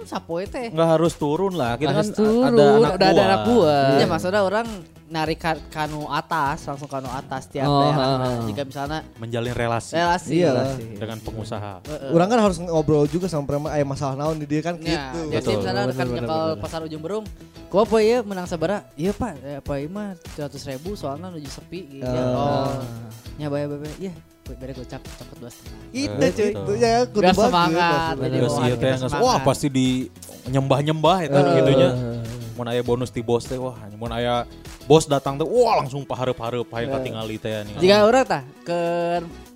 B: sapoe teh.
A: nggak harus turun lah kita
C: Harus
A: kan a-
C: turun,
A: ada anak
C: udah ada anak gua.
B: Ya maksudnya orang narik ka- kanu atas, langsung kanu atas tiap
C: Oh,
B: daerah.
C: ha, ha.
B: Jika misalnya
A: menjalin relasi
B: relasi.
D: Iya.
A: dengan pengusaha
D: Orang kan harus ngobrol juga sama preman ayah masalah naon di dia kan
B: Ya,
D: gitu.
B: jadi
A: Betul.
B: misalnya
C: Bener,
B: rekan
C: bener,
B: nyekal
C: bener.
B: pasar ujung berung, Kok apa ya menang sabara? Iya pak, eh, apa ya mah 100 ribu soalnya menuju sepi. Iya,
D: Ah.
B: oh, nyaba ya babe, iya. gue Beda gocap, cokot dua setengah.
D: Itu
A: Eh,
D: cuy,
A: gitu.
D: itu ya kudu
B: Biar
D: bagus,
B: semangat.
A: Iya
D: bagus.
A: sih,
B: Iya,
A: ya, teh, nggak-
B: semangat.
A: wah pasti di nyembah-nyembah itu kan
D: Eh.
A: gitunya. Mau aya bonus ti bos teh, wah mau aya bos datang teh, wah langsung paharep-harep hayang katingali teh nih. Ah.
B: Jika orang tah ke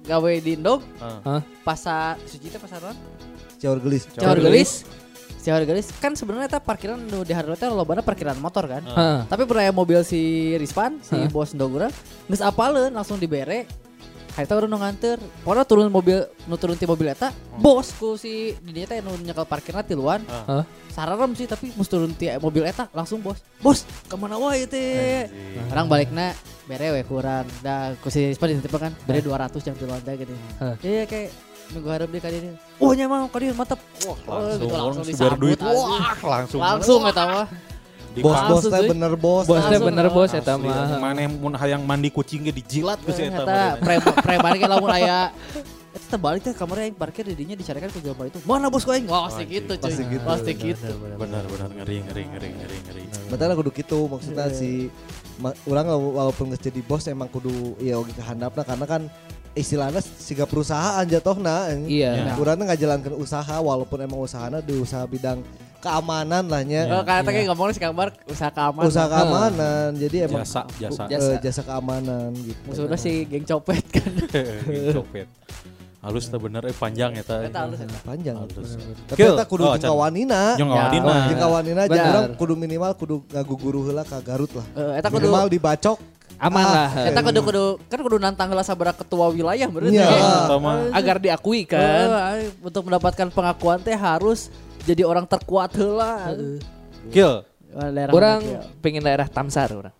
B: gawe di Indog,
A: Heeh.
B: pasar suci teh pasar naon?
D: Ciaur gelis.
B: Cawar gelis. Cawar gelis kan sebenarnya teh parkiran nu di hareureut teh lobana parkiran motor kan.
C: Hah.
B: Tapi pernah aya mobil si Rispan, si bos Ndogura, geus apaleun langsung dibere. Hayata urang nu nganter. Pokoknya turun mobil, nu turun ti mobil eta, bos ku si di dieu teh nu nyekel parkirna tiluan.
C: Hah?
B: Sararem sih tapi mus turun ti mobil eta langsung bos. Bos, kemana wae teh? Orang balikna bere we kurang. Da ku si Rispan dititipkan kan, bere 200 jang tiluan da gini.
C: Hah.
B: Iya kayak minggu harap dia kali ini. Wah nyaman kali ini mantep. Wah
A: Langsung
B: gitu,
A: orang
B: langsung
A: si bayar
B: disambut,
A: duit,
B: anjing.
A: wah langsung.
B: Langsung eta mah.
D: Bos-bos
B: Langsung,
D: teh
B: cuy.
D: bener bos.
C: Bosnya
B: Langsung,
C: bener
B: oh.
C: bos
A: Asli,
C: eta mah.
A: Mana yang mun hayang mandi kucingnya dijilat ku si eta.
B: Eta preman preman ke lamun aya Eta terbalik teh kamarnya yang parkir didinya dicarikan ke gambar itu. Mana bos kau yang? Wah pasti
A: Anjing.
B: gitu cuy. Pasti gitu.
A: Benar benar ngeri ngeri ngeri ngeri ngeri.
D: Betul kudu gitu maksudnya si ma- orang wala- walaupun nggak jadi bos emang kudu ya oke kehandapna karena kan istilahnya siga perusahaan jatohna
C: Iya.
D: Nah, Urang teh ngajalankeun usaha walaupun emang usahana di usaha bidang keamanan lah nya.
A: Iya.
B: Kalau kata Oh, kayak ngomongnya si gambar usaha keamanan. Oh,
D: Usaha keamanan. Jadi emang
A: Jasa jasa.
D: eh, jasa keamanan gitu.
B: Musuhnya si geng copet kan.
A: Copet. Halus teh bener eh panjang eta.
B: Eta halus eta.
D: panjang.
A: Halus.
D: Tapi
A: Kill.
D: eta kudu
A: Ah, Oh,
D: jeung
A: can.
D: kawanina.
A: Jeung kawanina.
D: Jeung kawanina aja
C: Benar.
D: urang kudu minimal kudu ngaguguru heula ka Garut lah.
B: Eh, Eta kudu
D: Minimal dibacok.
C: Aman
D: Ah,
C: lah.
B: Eta kudu kudu kan kudu nantang lah sabara ketua wilayah berarti.
D: Iya.
B: ya.
A: Eta mah
C: Agar diakui
B: kan
C: kan.
B: untuk mendapatkan pengakuan teh harus jadi orang terkuat heula
A: kill.
B: Ah.
C: Orang pengen daerah Tamsar orang.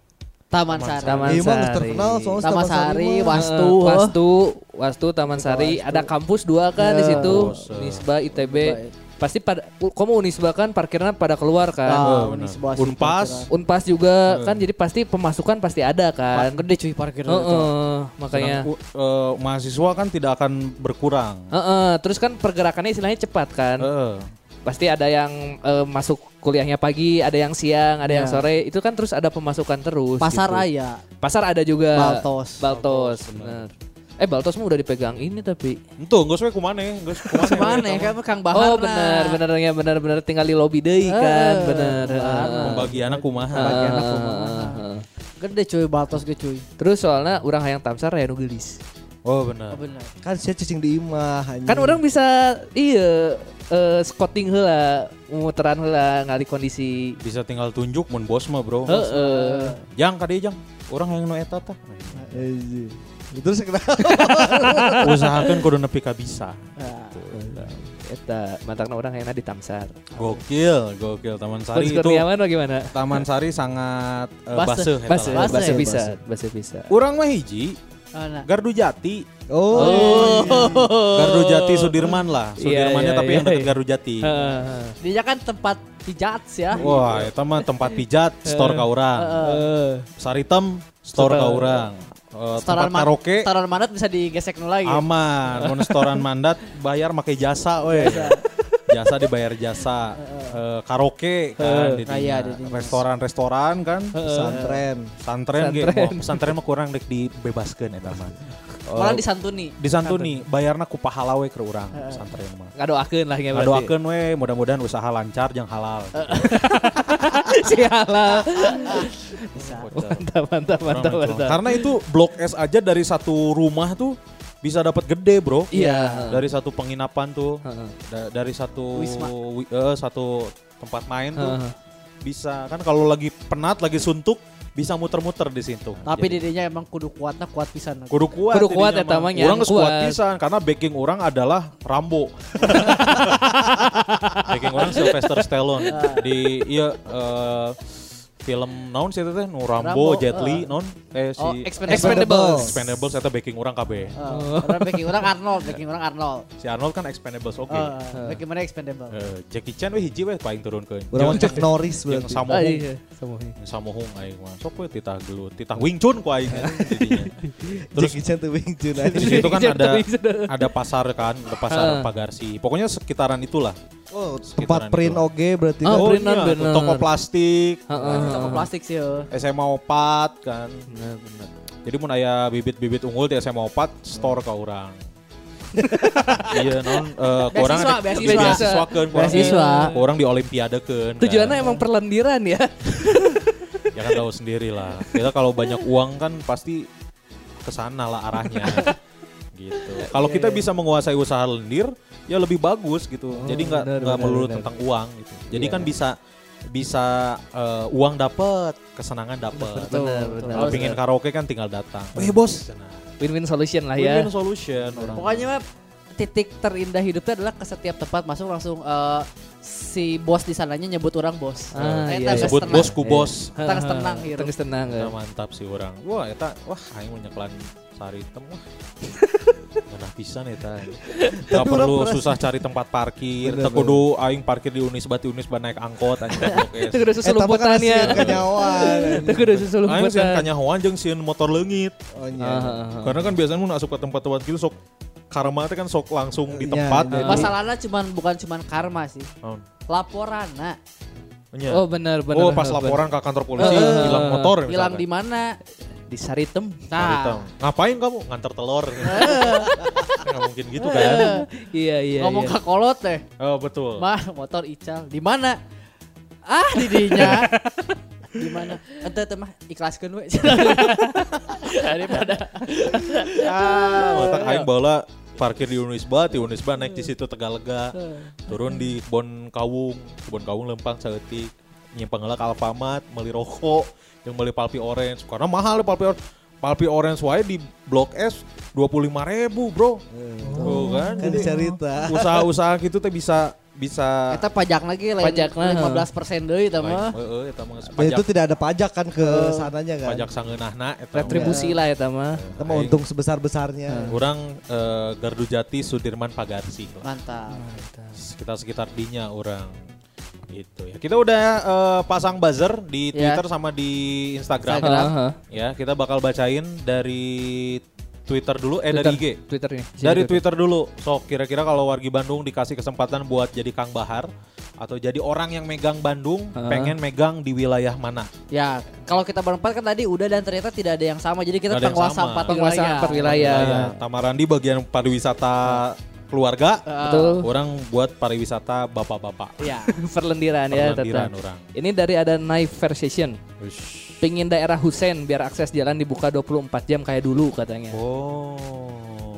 B: Taman Sari
C: Taman
D: Ieu iya mah geus
C: Sari.
D: terkenal soalnya si
B: Taman Sari
D: mah.
B: Wastu
C: Eh, Wastu, Wastu Taman Sari, ada kampus dua kan
B: Iya.
C: di situ,
A: Bosen.
C: Unisba, ITB. Pasti pada kamu Unisba kan parkirnya pada keluar kan.
B: Ah,
A: Oh, benar.
B: Unisba sih,
A: Unpas.
C: Unpas juga kan jadi pasti pemasukan pasti ada
B: Parkir
C: kan.
B: gede cuy parkir
C: Heeh, makanya.
A: Sedang, eh, mahasiswa kan tidak akan berkurang. Eh,
C: Heeh, terus kan pergerakannya istilahnya cepat kan.
B: Eh.
A: Heeh.
C: Pasti ada yang eh, masuk kuliahnya pagi, ada yang siang, ada yang sore. Itu kan terus ada pemasukan terus.
B: Iya. Pasar
C: gitu.
B: Raya
C: Pasar ada juga.
B: Baltos.
C: Baltos, bener. Eh Baltos mah udah dipegang ini tapi.
A: Itu geus we kumane, geus kumane.
B: Mana ya kan Kang Bahar
C: oh bener, bener ya bener bener tinggal di lobby deui kan, bener. Heeh.
A: Pembagian aku
C: Heeh,
A: kumaha.
C: heeh, heeh.
B: Gede cuy Baltos ge cuy
C: Terus soalnya orang hayang tamsar ya nu geulis.
A: Oh benar.
B: Bener
D: Kan sia cicing di imah. anjing.
C: Kan orang bisa iya eh, scouting heula, muteran heula ngali kondisi. eh,
A: Bisa tinggal tunjuk mun bos mah, Bro.
C: Heeh.
A: Jang ka dieu jang. Urang hayang nu eta tah.
D: Iya. Terus kenapa?
A: Usahakeun kudu nepi ka bisa.
C: Eta mantakna orang hayangna di tamsar.
A: Gokil, gokil Taman Sari
C: Coach
A: itu.
C: Kurniawan bagaimana?
A: Taman Sari sangat eh,
B: Baseuh.
A: baseuh eta
C: Base,
A: lah.
B: Baseuh.
C: base
B: Baseuh.
C: bisa, base bisa.
A: Urang mah hiji
B: Oh, nah.
A: Gardu Jati, iya.
D: Oh.
A: Gardu Jati Sudirman lah,
C: Iya,
A: Sudirmannya
C: iya,
A: tapi yang
C: iya,
A: dekat
C: iya.
A: Gardu Jati.
C: Heeh.
B: Dia kan tempat pijat ya
A: Wah, itu mah tempat pijat, store ka urang. eh. Saritem, store ka urang. Eh, tempat
B: ma-
A: karaoke,
B: Setoran mandat bisa digesek gitu. nu lagi
A: aman. Mun storan mandat, bayar pakai jasa, we. jasa dibayar jasa. Eh, karaoke kan, di dinya.
B: Raya, di dinya.
A: restoran-restoran kan.
D: Santren.
A: Santren, ge. Wah, santren mah kurang dek dibebaskan eta mah. Eh,
B: Malah disantuni
A: disantuni, bayarna ku pahala we ke urang santren mah.
C: Ngadoakeun lah nya Iya, berarti.
A: Ngadoakeun we, mudah-mudahan usaha lancar jeung halal.
C: Sialah.
B: Bisa
C: Mantap, mantap, mantap, mantap.
A: Gitu. Karena itu blok S aja dari satu rumah tuh bisa dapat gede, Bro.
C: Iya.
A: Dari satu penginapan tuh, da- dari satu
B: Wisma.
A: wi- eh, satu tempat main tuh
C: Heeh.
A: bisa kan kalau lagi penat, lagi suntuk bisa muter-muter di situ.
B: Tapi
A: Jadi,
B: didinya emang kudu kuatna kuat pisan
A: kudu kuat.
C: Kudu kuat
A: jadinya
C: eta
A: mah.
C: mah, nyan
A: Urang geus kuat
C: kuat.
A: pisan karena backing orang adalah Rambo. backing orang Sylvester Stallone di iya eh, film naon sih itu teh nu Rambo,
B: Rambo,
A: Jet Li
B: eh.
A: naon eh si
B: Oh, Expendables.
D: Expendables.
A: Expendables eta backing orang kabeh.
B: Eh, orang backing orang Arnold, backing orang Arnold.
A: Si Arnold kan Expendables oke.
B: Eh,
C: Ah.
B: backing mana expendable.
A: Eh, Jackie Chan we hiji we paling turunkeun.
D: Orang
A: Jeung-
D: Chuck Norris
A: jeung
D: berarti.
C: Ah,
A: Samohung.
C: iya, Samohung.
A: Jeung Samohung aing mah. Sok we ya? titah gelut, titah Wing Chun ku aing kan, jadinya. Terus
D: Jackie Chan tuh Wing Chun aja.
A: di situ kan
C: Jackie Chan
A: ada
C: tuh bisa dah.
A: ada pasar kan, ada
C: Ah.
A: pasar Pagarsi. Pokoknya sekitaran itulah.
D: Oh,
A: Sekitaran
D: tempat print
A: itu.
D: oge berarti.
C: Oh,
D: kan.
C: print
A: iya,
C: bener.
A: toko plastik,
C: Ah,
B: Toko plastik sih. eh.
A: SMA Opat kan. Jadi mun aya bibit-bibit unggul di SMA Opat store ka urang. iya non eh ku urang
B: Beasiswa,
A: ada-
B: beasiswa.
A: beasiswakeun, ku urang di-
B: Beasiswa.
A: ku urang di olimpiadekeun. kan.
C: Tujuannya emang perlendiran ya.
A: ya kan tahu sendiri lah. Kita kalau banyak uang kan pasti kesana lah arahnya. gitu. Kalau kita bisa menguasai usaha lendir, ya lebih bagus gitu. Jadi nggak
D: benar,
A: nggak
D: benar,
A: melulu
D: benar.
A: tentang uang gitu. Jadi kan bisa bisa eh, uang dapat, kesenangan dapat.
D: Benar, benar.
A: Kalau pingin karaoke kan tinggal datang. Eh bos.
C: Win-win solution lah ya.
A: Win-win solution orang.
B: Pokoknya mah titik terindah hidupnya adalah ke setiap tempat masuk langsung eh, si bos di sananya nyebut orang bos.
C: Ah,
B: Eh,
C: iya,
B: tangga
C: iya.
A: sebut
B: setengah.
A: bos ku bos.
B: Tengah tenang gitu.
C: Tengah ya. tenang.
A: Nah, mantap sih orang. Wah, eta wah aing mun nyeklan sari item wah. Ngenah pisan eta. Gak
D: Tapi orang
A: perlu
D: merasa-
A: susah cari tempat parkir.
D: Bener,
A: Teu kudu aing parkir di Unisba, di Unisba naik angkot anjing goblok
C: Itu
A: es.
C: udah
D: Eh,
C: susu
D: tapi kan
C: lumputan ya.
D: hasil kenyawan.
C: Itu udah susu
A: Aing sieun
C: lumputan.
A: kanyahoan jeung sieun motor leungit.
D: Oh, iya.
C: Ah, ah,
A: Karena kan biasanya mun asup ke tempat-tempat gitu sok karma teh kan sok langsung di
D: Iya,
A: tempat.
D: iya.
A: jadi-
B: Masalahnya cuman bukan cuman karma sih.
A: Naon?
B: Laporan nah.
A: Nya.
C: ah. Oh benar benar.
A: Oh, pas
C: benar.
A: laporan ke kantor polisi
C: Eh,
A: hilang
C: eh,
A: motor
B: Hilang di
A: misalkan.
B: mana?
C: di Saritem.
A: Cari
B: Nah.
A: tahu. Ngapain kamu? Ngantar telur. Nggak mungkin gitu kan.
C: Iya iya.
B: ngomong
C: iya.
B: ke kolot teh.
A: Oh, betul.
B: Mah motor ical di mana? Ah di dinya. di mana? Ente teh mah ikhlaskeun we. Daripada
A: Otak aing bola parkir di Unisba, di Unisba naik di situ Tegalega, turun di Kebon Kawung, Kebon Kawung lempang saeutik, nyimpang heula ka Alfamart, beli rokok, yang beli palpi orange karena mahal ya palpi orange. Palpi orange wae di Blok S 25.000 Bro. Tuh kan.
D: Kan
A: jadi
D: dicerita.
A: Usaha-usaha gitu teh bisa bisa
B: eta pajak lagi ya. lain
C: Pajak lah.
B: 15% deui tah
A: Lain-
B: mah.
A: Heeh, eta mah
D: Dan itu
A: pajak Oh,
D: tidak ada pajak kan ke sananya kan.
A: pajak sangeunahna eta. mah.
C: Retribusi lah ya Tama.
A: Eh,
D: Kita mau untung sebesar-besarnya.
A: Urang eh, Gardu Jati Sudirman Pagarsi lah.
B: Mantap.
A: sekitar sekitar dinya orang gitu ya kita udah eh, pasang buzzer di
B: Ya.
A: Twitter sama di Instagram,
B: Instagram.
C: Ah, ah.
A: ya kita bakal bacain dari Twitter dulu eh dari IG
C: Twitter- Iya, Twitter nih.
A: dari Twitter dulu sok kira-kira kalau wargi Bandung dikasih kesempatan buat jadi Kang Bahar atau jadi orang yang megang Bandung pengen megang di wilayah mana
B: Ya, kalau kita berempat kan tadi udah dan ternyata tidak ada yang sama. Jadi
A: Nggak
B: kita
A: ada yang
B: penguasa
A: sama.
B: empat
C: Penguasa
B: wilayah.
C: empat wilayah.
A: Wilayah Tamarandi bagian pariwisata keluarga
C: Betul.
A: orang buat pariwisata bapak-bapak
B: Ya.
C: Perlendiran ya
A: Perlendiran
C: tetap.
A: orang.
C: Ini dari ada Knife Versation.
A: Ush.
C: Pingin daerah Husein biar akses jalan dibuka 24 jam kayak dulu katanya.
A: Oh,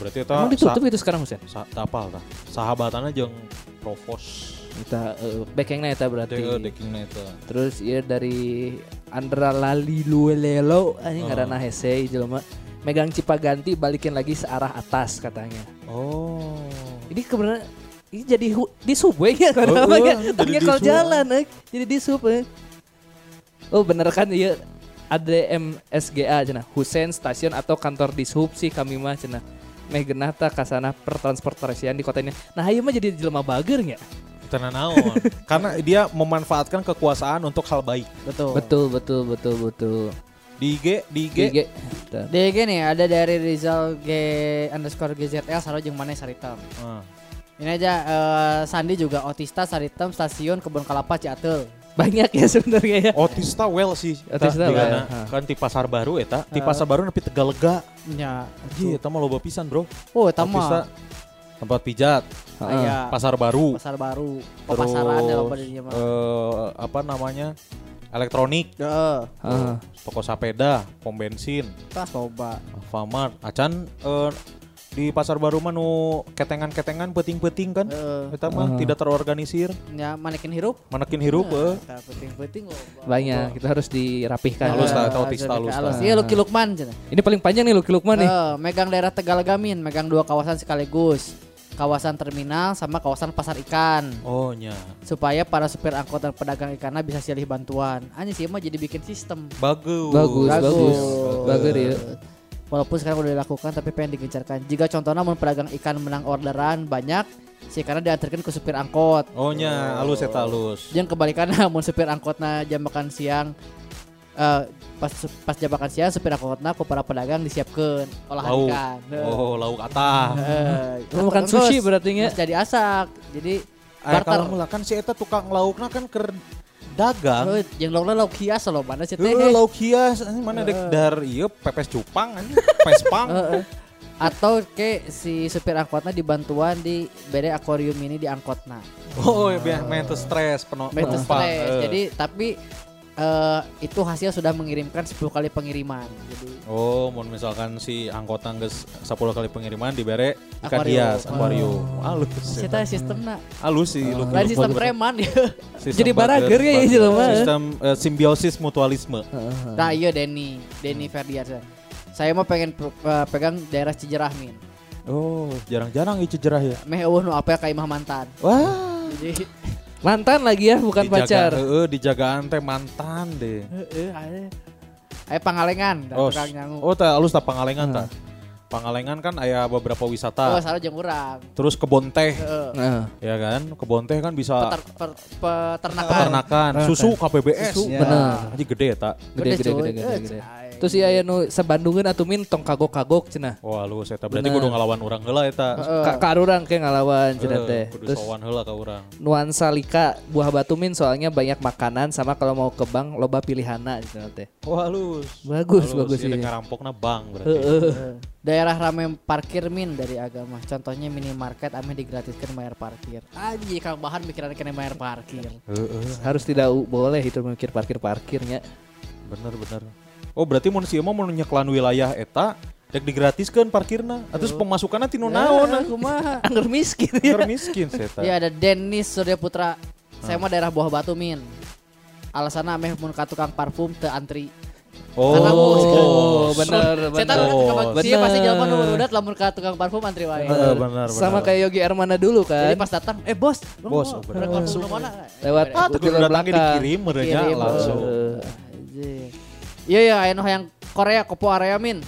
A: berarti itu
C: Emang ditutup itu sekarang Husein?
A: sa, sa, apa ta? Sahabatannya jeung provos.
C: Kita uh, backingnya ya berarti.
A: Deu dekingna eta.
C: Terus iya dari Andra Lali Luelelo ini nggak ada hese jelema. Megang Cipaganti balikin lagi searah atas katanya.
A: Oh.
C: Ini kebenaran ini jadi hu- di sub we ya kan
A: Oh,
C: apa ya?
A: oh, jadi
C: Tadinya
A: di
C: kalau
A: sub.
C: jalan eh. jadi di sub eh. Oh bener kan iya ADM SGA cenah Husein stasiun atau kantor di sub sih kami mah cenah. Meh genah tah kasana pertransportasian di kota ini. Nah, ieu mah jadi jelema bager nya.
A: Tena naon? Karena dia memanfaatkan kekuasaan untuk hal baik.
B: Betul.
C: Betul, betul, betul, betul.
A: Di IG, di IG.
C: Ge- ge- Tah.
B: Di gini ada dari Rizal G underscore GZL Saro jeung Mane Saritem.
A: Ah.
B: Ini aja eh, Sandi juga otista Saritem Stasiun Kebun Kelapa Ciatul.
C: banyak ya sebenarnya ya.
A: Otista well sih. eta,
C: Otista
A: di
C: well,
A: kana.
C: ha.
A: Kan di pasar baru eta, di pasar baru nepi Tegalega.
B: Ya.
A: Iya, eta mah loba pisan, Bro.
B: Oh, eta
A: Otista
B: mah.
A: tempat pijat,
B: Aya
A: pasar baru.
B: pasar baru, pemasaran
A: Terus,
B: ya loba di dieu mah.
A: eh, apa namanya? Elektronik.
B: Heeh.
C: Heeh.
A: toko sepeda, pom bensin,
B: Tas loba.
A: Alfamart. Acan eh, di pasar baru mah nu ketengan-ketengan peting-peting kan.
B: Heeh.
A: Eta mah tidak terorganisir,
B: Ya manekin hirup.
A: manekin hirup eh.
B: Eta penting-penting loba.
C: Banyak, kan. kita harus dirapihkan.
A: Halus lah,
B: Eh,
A: eta otista halus lah.
B: Halus. Iya Lucky Lukman cenah.
C: Ini paling panjang nih Lucky Lukman nih.
B: Eh, megang daerah Tegal Gamin, megang dua kawasan sekaligus. kawasan terminal sama kawasan pasar ikan
A: Oh nya.
B: supaya para supir angkot dan pedagang ikannya bisa silih bantuan. Anjing sih mah jadi bikin sistem.
A: Bagus.
C: Bagus,
B: Bagus.
C: bagus. Bagus ya.
B: Walaupun sekarang udah dilakukan tapi pengen digencarkan. Jika contohnya mau pedagang ikan menang orderan banyak, sih karena diantarkan ke supir angkot.
A: Oh nya, halus eta halus.
B: Yang kebalikannya mau supir angkotnya jam makan siang eh, pas pas jam makan siang supir angkotnya ke para pedagang disiapkan olahan
A: Lauk.
B: ikan.
A: Oh, lauk atah.
B: Eh,
C: Makan
B: terus-
C: sushi berarti nya.
B: terus jadi asak. Jadi
A: Aya
B: barter.
A: kalau lah kan si eta tukang laukna kan ker dagang.
B: Eh, Yang lauknya lauk hias loh mana sih teh. Eh.
A: Heuh, lauk hias anjing mana dek dar ieu pepes cupang anjing, pespang.
B: Heeh. Atau ke si supir angkotnya dibantuan di bede akuarium ini di angkotna.
A: Oh, ya biar main tuh stres penuh.
B: Bede stres.
A: Eh.
B: Jadi tapi eh, itu hasil sudah mengirimkan 10 kali pengiriman. Jadi
A: Oh, mau misalkan si anggota geus 10 kali pengiriman dibere ikan
B: Akuarium.
A: hias, akuarium. Halus. ya.
B: kita sistemna
A: Halus sih lu.
B: lain sistem preman ya.
C: Jadi barager ya, iya, jelema.
A: Sistem eh, simbiosis mutualisme.
B: Nah iya Denny,
A: Hmm.
B: Denny Ferdiansyah. Saya mau pengen pe- eh, pegang daerah Cijerah min.
A: Oh, jarang-jarang itu cerah ya.
B: Meh eueuh nu apel ka imah mantan.
A: Wah.
B: Jadi
C: Mantan lagi ya, bukan pacar.
A: Heeh, dijagaan teh mantan deh.
B: heeh aya. Aya pangalengan, da
A: Eh, Oh,
B: tukang
A: s-
B: nyangu.
A: oh teh alus tah Pangalengan tah. Pangalengan kan aya beberapa
B: Oh, Eh.
A: wisata.
B: salah jeung urang.
A: Terus kebon teh,
B: Heeh.
C: Nah,
A: ya kan? Kebon teh kan bisa
B: Peter- per- peternakan.
A: peternakan, susu KPBS.
B: Susu,
A: Ya.
C: bener.
A: Anjing gede eta.
C: gede gede
B: cuy.
C: gede
B: Eh,
C: gede.
B: Eh.
C: gede.
B: cai.
C: Terus si aya nu sabandungeun atuh min tong kagok-kagok cenah.
A: Wah, alus eta. Berarti
C: Bener.
A: kudu ngelawan urang heula eta.
B: Heeh.
C: Ka karurang ke ngalawan cenah
A: Eh,
C: teh.
A: Kudu
C: ya. Terus
A: sowan heula ka urang.
C: nuansa lika buah batu min soalnya banyak makanan sama kalau mau ke bank loba pilihana cenah teh.
A: Wah, alus.
C: Bagus, bagus
A: Ini
C: ini.
A: karampokna nah, bang berarti.
C: Heeh.
B: Eh. Daerah ramai parkir min dari agama. Contohnya minimarket ame digratiskan bayar parkir. Anjir Kang Bahan mikiran kena bayar parkir.
A: Heeh,
C: Harus tidak u- boleh itu mikir parkir-parkirnya.
A: bener bener. Oh, berarti mun si Ema mun nyeklan wilayah eta rek digratiskeun parkirna. Atus pemasukanna tinu naon?
B: Eh. kumaha?
C: Angger miskin ya. Iya.
A: Keur miskin Ah. si eta.
B: Ya ada Dennis Surya Putra. Saya mah daerah Buah Batu min. Alasanna ameh mun ka tukang parfum teu antri. Karena
C: Oh, bener
B: Saya tahu
A: Oh,
C: bener.
B: kan sih
C: Bener.
B: pasti jawaban nomor udah lamun ka tukang parfum antri wae.
A: Heeh, bener,
C: Sama
A: bener.
C: kayak Yogi Armana dulu
B: Jadi
C: kan.
B: pas datang, eh bos, lu
A: Bos,
B: mau
A: oh, bener.
B: tukang parfum lu mana?
C: Lewat
A: Ah, tuh
C: butiran
A: kudu datangnya
C: belakang.
A: dikirim merenya
B: Kirim,
A: langsung.
C: Heeh.
B: Anjir. Iya iya, aya nu yang Korea kopo area min.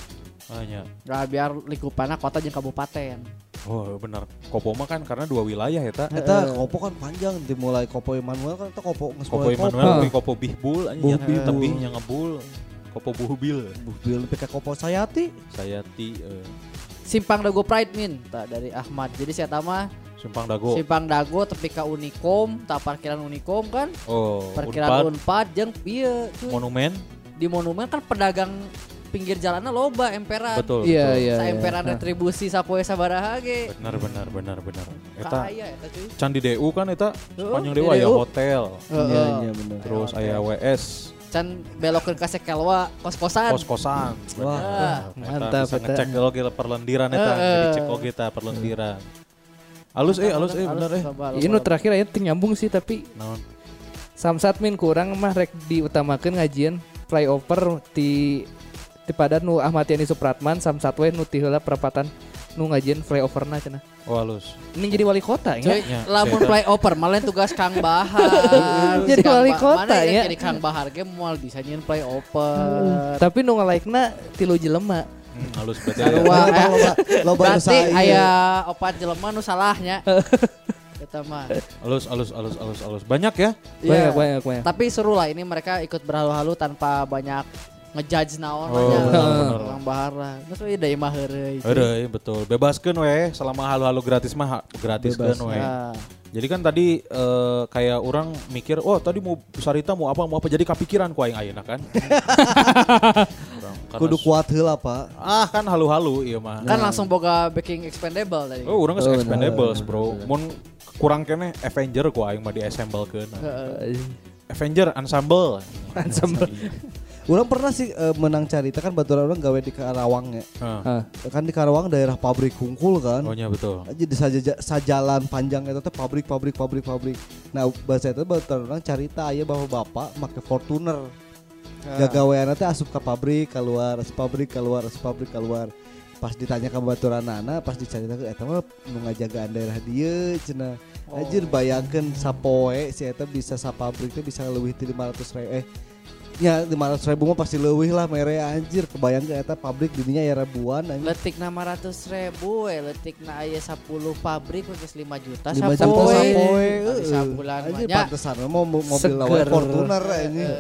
A: Hanya.
B: Nah, biar likupannya kota jeung kabupaten.
A: Oh benar. Kopo mah kan karena dua wilayah ya ta.
D: Eta kopo kan panjang dimulai kopo Immanuel kan eta kopo nges
A: Kopo
D: mulai
A: Immanuel,
C: Kopo.
A: tapi kopo Bihbul,
D: Buh
A: anjing
D: Bihbul.
A: tapi yang ngebul. Kopo Buhbil,
D: Buh, bil lebih ke kopo Sayati.
A: saya ti eh,
B: Simpang Dago Pride min, tak dari Ahmad. Jadi saya tama
A: Simpang Dago.
B: Simpang Dago tepi ka Unikom, tak parkiran Unikom kan?
A: Oh, Unpad,
B: Parkiran Unpad jeung ieu cuy.
A: Monumen,
B: Di monumen kan pedagang pinggir jalannya loba emperan.
A: betul.
C: Iya,
A: betul.
C: iya.
B: Saemperan retribusi sapoe sabaraha ge.
A: Benar, benar, benar, benar. Eh, Eta
B: Kahaya eta cuy.
A: Can di DU kan eta sepanjang
B: di
A: dewa ya
B: DU.
A: hotel.
D: Iya,
B: Heeh.
D: iya bener.
A: Terus aya WS,
B: Can belokeun ka Sekelwa kos-kosan.
A: kos-kosan.
D: Wah,
A: Bener. Eta
C: mantap,
A: bisa
C: eta.
A: ngecek oge perlendiran eta,
B: Heeh.
A: jadi cek oge ta perlendiran. Alus eh, alus eh, bener eh.
B: Loba, loba,
C: Ini nu
B: loba.
C: terakhir aja ting nyambung sih tapi
A: Naon?
C: Samsat min kurang mah rek diutamakan ngajian flyover di di pada nu Ahmad Yani Supratman Samsat we nu ti heula perempatan nu ngajian flyoverna cenah.
A: Oh, alus.
C: Ini jadi wali kota
B: Cuy,
C: ya.
A: Ya,
B: lamun
A: saya-
B: flyover malah tugas Kang Bahar.
C: Jadi
B: Kang
C: wali
B: Ba-
C: kota,
B: mana yang
C: ya. Hmm.
B: Jadi Kang Bahar ge moal bisa nyeun flyover.
C: Tapi nu ngalaikna tilu jelema.
A: Hmm, halus berarti. ya.
B: Sarua. Wah,
D: Loba
B: eh.
D: loba loba
B: Berarti
D: usaha iya. ieu.
B: aya opat jelema nu salahnya. Eta mah.
A: Halus, halus, halus, halus, halus. Banyak ya?
C: Banyak
B: Iya.
C: banyak banyak.
B: Tapi seru lah ini mereka ikut berhalu-halu tanpa banyak ngejudge
A: Oh,
B: naon aja.
A: benar, benar.
B: Kang Bahar lah. Terus ieu deui mah heureuy. cuy.
A: Ada, iya, betul. Bebaskan weh, selama halu-halu gratis mah ha- gratiskeun
D: Bebas.
A: weh.
B: Ya.
A: Jadi kan tadi eh, kayak orang mikir, oh tadi mau Sarita mau apa mau apa jadi kepikiran ku aing ayeuna kan. Orang, karena-
D: Kudu kuat heula, Pak.
A: Ah kan halu-halu iya mah.
B: Kan langsung boga baking expendable tadi.
A: Oh, orang geus expendables, Bro. Mun kurang kene Avenger ku aing mah diassemble-keun. Avenger ensemble.
C: Ensemble.
D: Urang pernah sih eh, menang carita kan baturan urang gawe di Karawang ya.
A: Heeh.
C: Ah,
D: Kan di Karawang daerah pabrik kungkul kan.
A: Oh nya betul.
D: jadi saja sajalan panjang itu teh pabrik pabrik pabrik pabrik nah bahasa itu orang carita aya bapak bapak make Fortuner gagaweanna teh asup ke pabrik keluar asup pabrik keluar asup pabrik keluar pas ditanya ke baturan anak pas dicerita ke eta mah nu ngajagaan daerah dia cenah anjir bayangkeun sapoe si eta bisa sapabrik teh bisa leuwih ti 500 ribu eh ya 500 ribu mah pasti leuwih lah mere anjir kebayang ke eta pabrik dirinya ya ribuan anjir
B: Letik nama ratus ribu, eh, letik na ayah 10 pabrik, wes 5 juta, Nah,
D: 5 juta sapoe
B: Kali
D: heeh.
B: sabulan
D: Eh. anjir
B: banyak.
D: pantesan mah mo- mo- mobil
C: Seger.
D: lawan Fortuner eh, anjing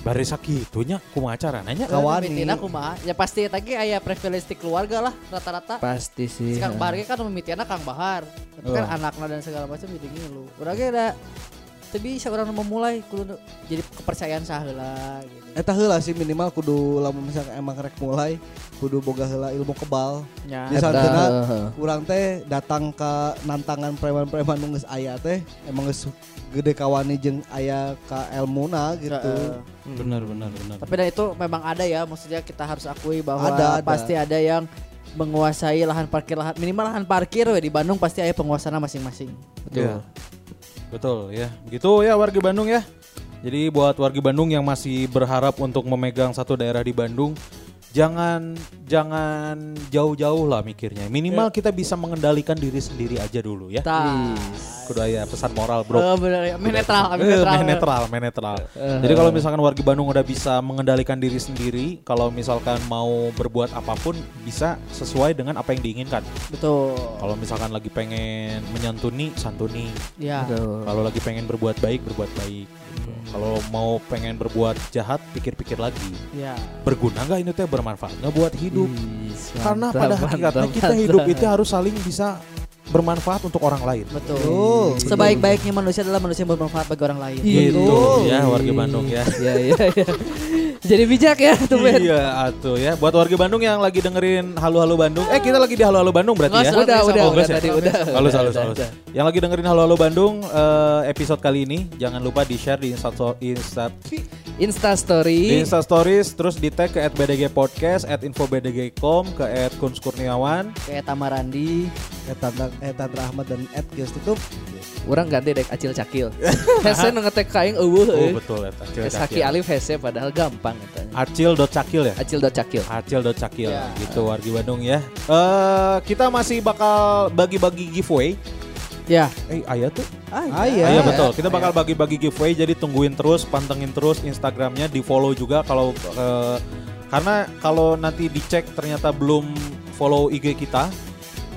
A: Bari sakitunya kumaha caranya?
D: Kawani.
B: Mimitina kumaha? Ya pasti eta ge aya privilege di keluarga lah rata-rata.
C: Pasti
B: Si
C: sih.
B: Kang
D: Iya.
B: Bahar ge kan mimitina Kang Bahar. Tapi kan
D: Oh.
B: anakna dan segala macam jadi ngilu. Urang ge da teu bisa urang nu memulai kudu nu- jadi kepercayaan saheula gitu.
D: Eta heula Eh, sih minimal kudu lamun misalkan emang rek mulai kudu boga heula ilmu kebal.
B: Ya.
D: Bisa
C: Eta,
D: tena
C: heeh.
D: urang teh datang ke nantangan preman-preman nu geus aya teh emang geus gede kawani jeung aya ka elmuna gitu.
B: Heeh.
E: Benar benar benar.
B: Tapi dan itu memang ada ya, maksudnya kita harus akui bahwa
D: Ada, ada.
B: pasti ada yang menguasai lahan parkir lahan minimal lahan parkir we, di Bandung pasti ada penguasana masing-masing.
A: Betul. Betul ya. Begitu ya warga Bandung ya. Jadi buat warga Bandung yang masih berharap untuk memegang satu daerah di Bandung, jangan jangan jauh-jauh lah mikirnya. Minimal kita bisa mengendalikan diri sendiri aja dulu ya.
B: Tah.
A: Kudu aya pesan moral, Bro.
B: Eh, bener ya, main netral, main
A: Eh,
B: netral.
A: main netral, main netral. Jadi kalau misalkan warga Bandung udah bisa mengendalikan diri sendiri, kalau misalkan mau berbuat apapun bisa sesuai dengan apa yang diinginkan.
B: Betul.
A: Kalau misalkan lagi pengen menyantuni, santuni.
B: Ya.
C: Aduh.
A: Kalau lagi pengen berbuat baik, berbuat baik. gitu.
C: Hmm.
A: Kalau mau pengen berbuat jahat, pikir-pikir lagi.
B: Ya.
A: Berguna nggak ini teh bermanfaat nggak buat hidup?
C: Is,
A: Karena
C: mantap,
A: pada
C: mantap,
A: hakikatnya kita
C: mantap.
A: hidup itu harus saling bisa bermanfaat untuk orang lain.
B: Betul.
D: Betul. Iya.
B: Sebaik-baiknya manusia adalah manusia yang bermanfaat bagi orang lain.
A: Gitu ya warga Bandung ya.
C: Iya iya iya. Jadi bijak ya tuh Ben.
A: Iya atuh ya. Buat warga Bandung yang lagi dengerin Halo-Halo Bandung. Eh kita lagi di Halo-Halo Bandung berarti
B: Nggak
A: ya.
B: usah,
C: Udah,
B: Sorry,
C: udah,
B: sorry.
C: udah
A: Bagus ya?
C: tadi udah.
A: Halus, halus,
C: Udah,
A: halus.
C: udah.
A: Yang lagi dengerin Halo Halo Bandung eh, episode kali ini jangan lupa di share di Insta Insta
C: Insta
A: di
C: story.
A: Insta Stories terus di tag ke @bdg podcast, @infobdg.com, ke @kunskurniawan.
B: Kayak Tamarandi.
D: Eta Eta Ahmad dan Ed Geus tutup.
C: Orang ganti dek acil cakil. Hese nu ngetek uh, kaing eueuh.
A: Oh
C: euy.
A: betul ya. Acil
C: Geus haki alif hese padahal gampang katanya.
A: Acil dot cakil ya.
C: Acil dot cakil.
A: Acil dot cakil gitu warga Bandung ya. Eh kita masih bakal bagi-bagi giveaway.
B: Ya.
A: Eh ayah tuh
D: Ah iya.
A: Iya betul. Kita bakal bagi-bagi giveaway jadi tungguin terus, pantengin terus Instagramnya, di follow juga kalau eh, karena kalau nanti dicek ternyata belum follow IG kita,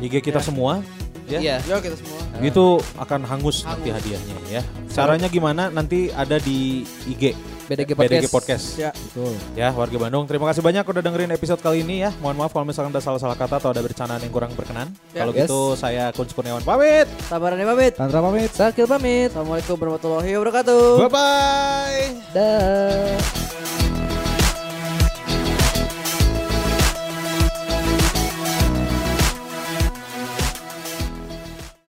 A: IG kita semua, ya.
C: Iya.
B: Yo kita semua.
A: Nah. Itu akan hangus, nanti hadiahnya ya. Caranya gimana? Nanti ada di IG
C: BDG
A: BDG
C: Podcast.
A: Podcast.
B: Ya.
D: Betul.
A: Ya, warga Bandung, terima kasih banyak udah dengerin episode kali ini ya. Mohon maaf kalau misalkan ada salah-salah kata atau ada bercandaan yang kurang berkenan.
B: Ya.
A: Kalau
C: Yes.
A: gitu saya Kunz Kurniawan pamit.
B: Tamarandi pamit.
D: Tantra pamit.
B: Sakil pamit. Assalamualaikum warahmatullahi wabarakatuh.
A: Bye bye.
C: Dah.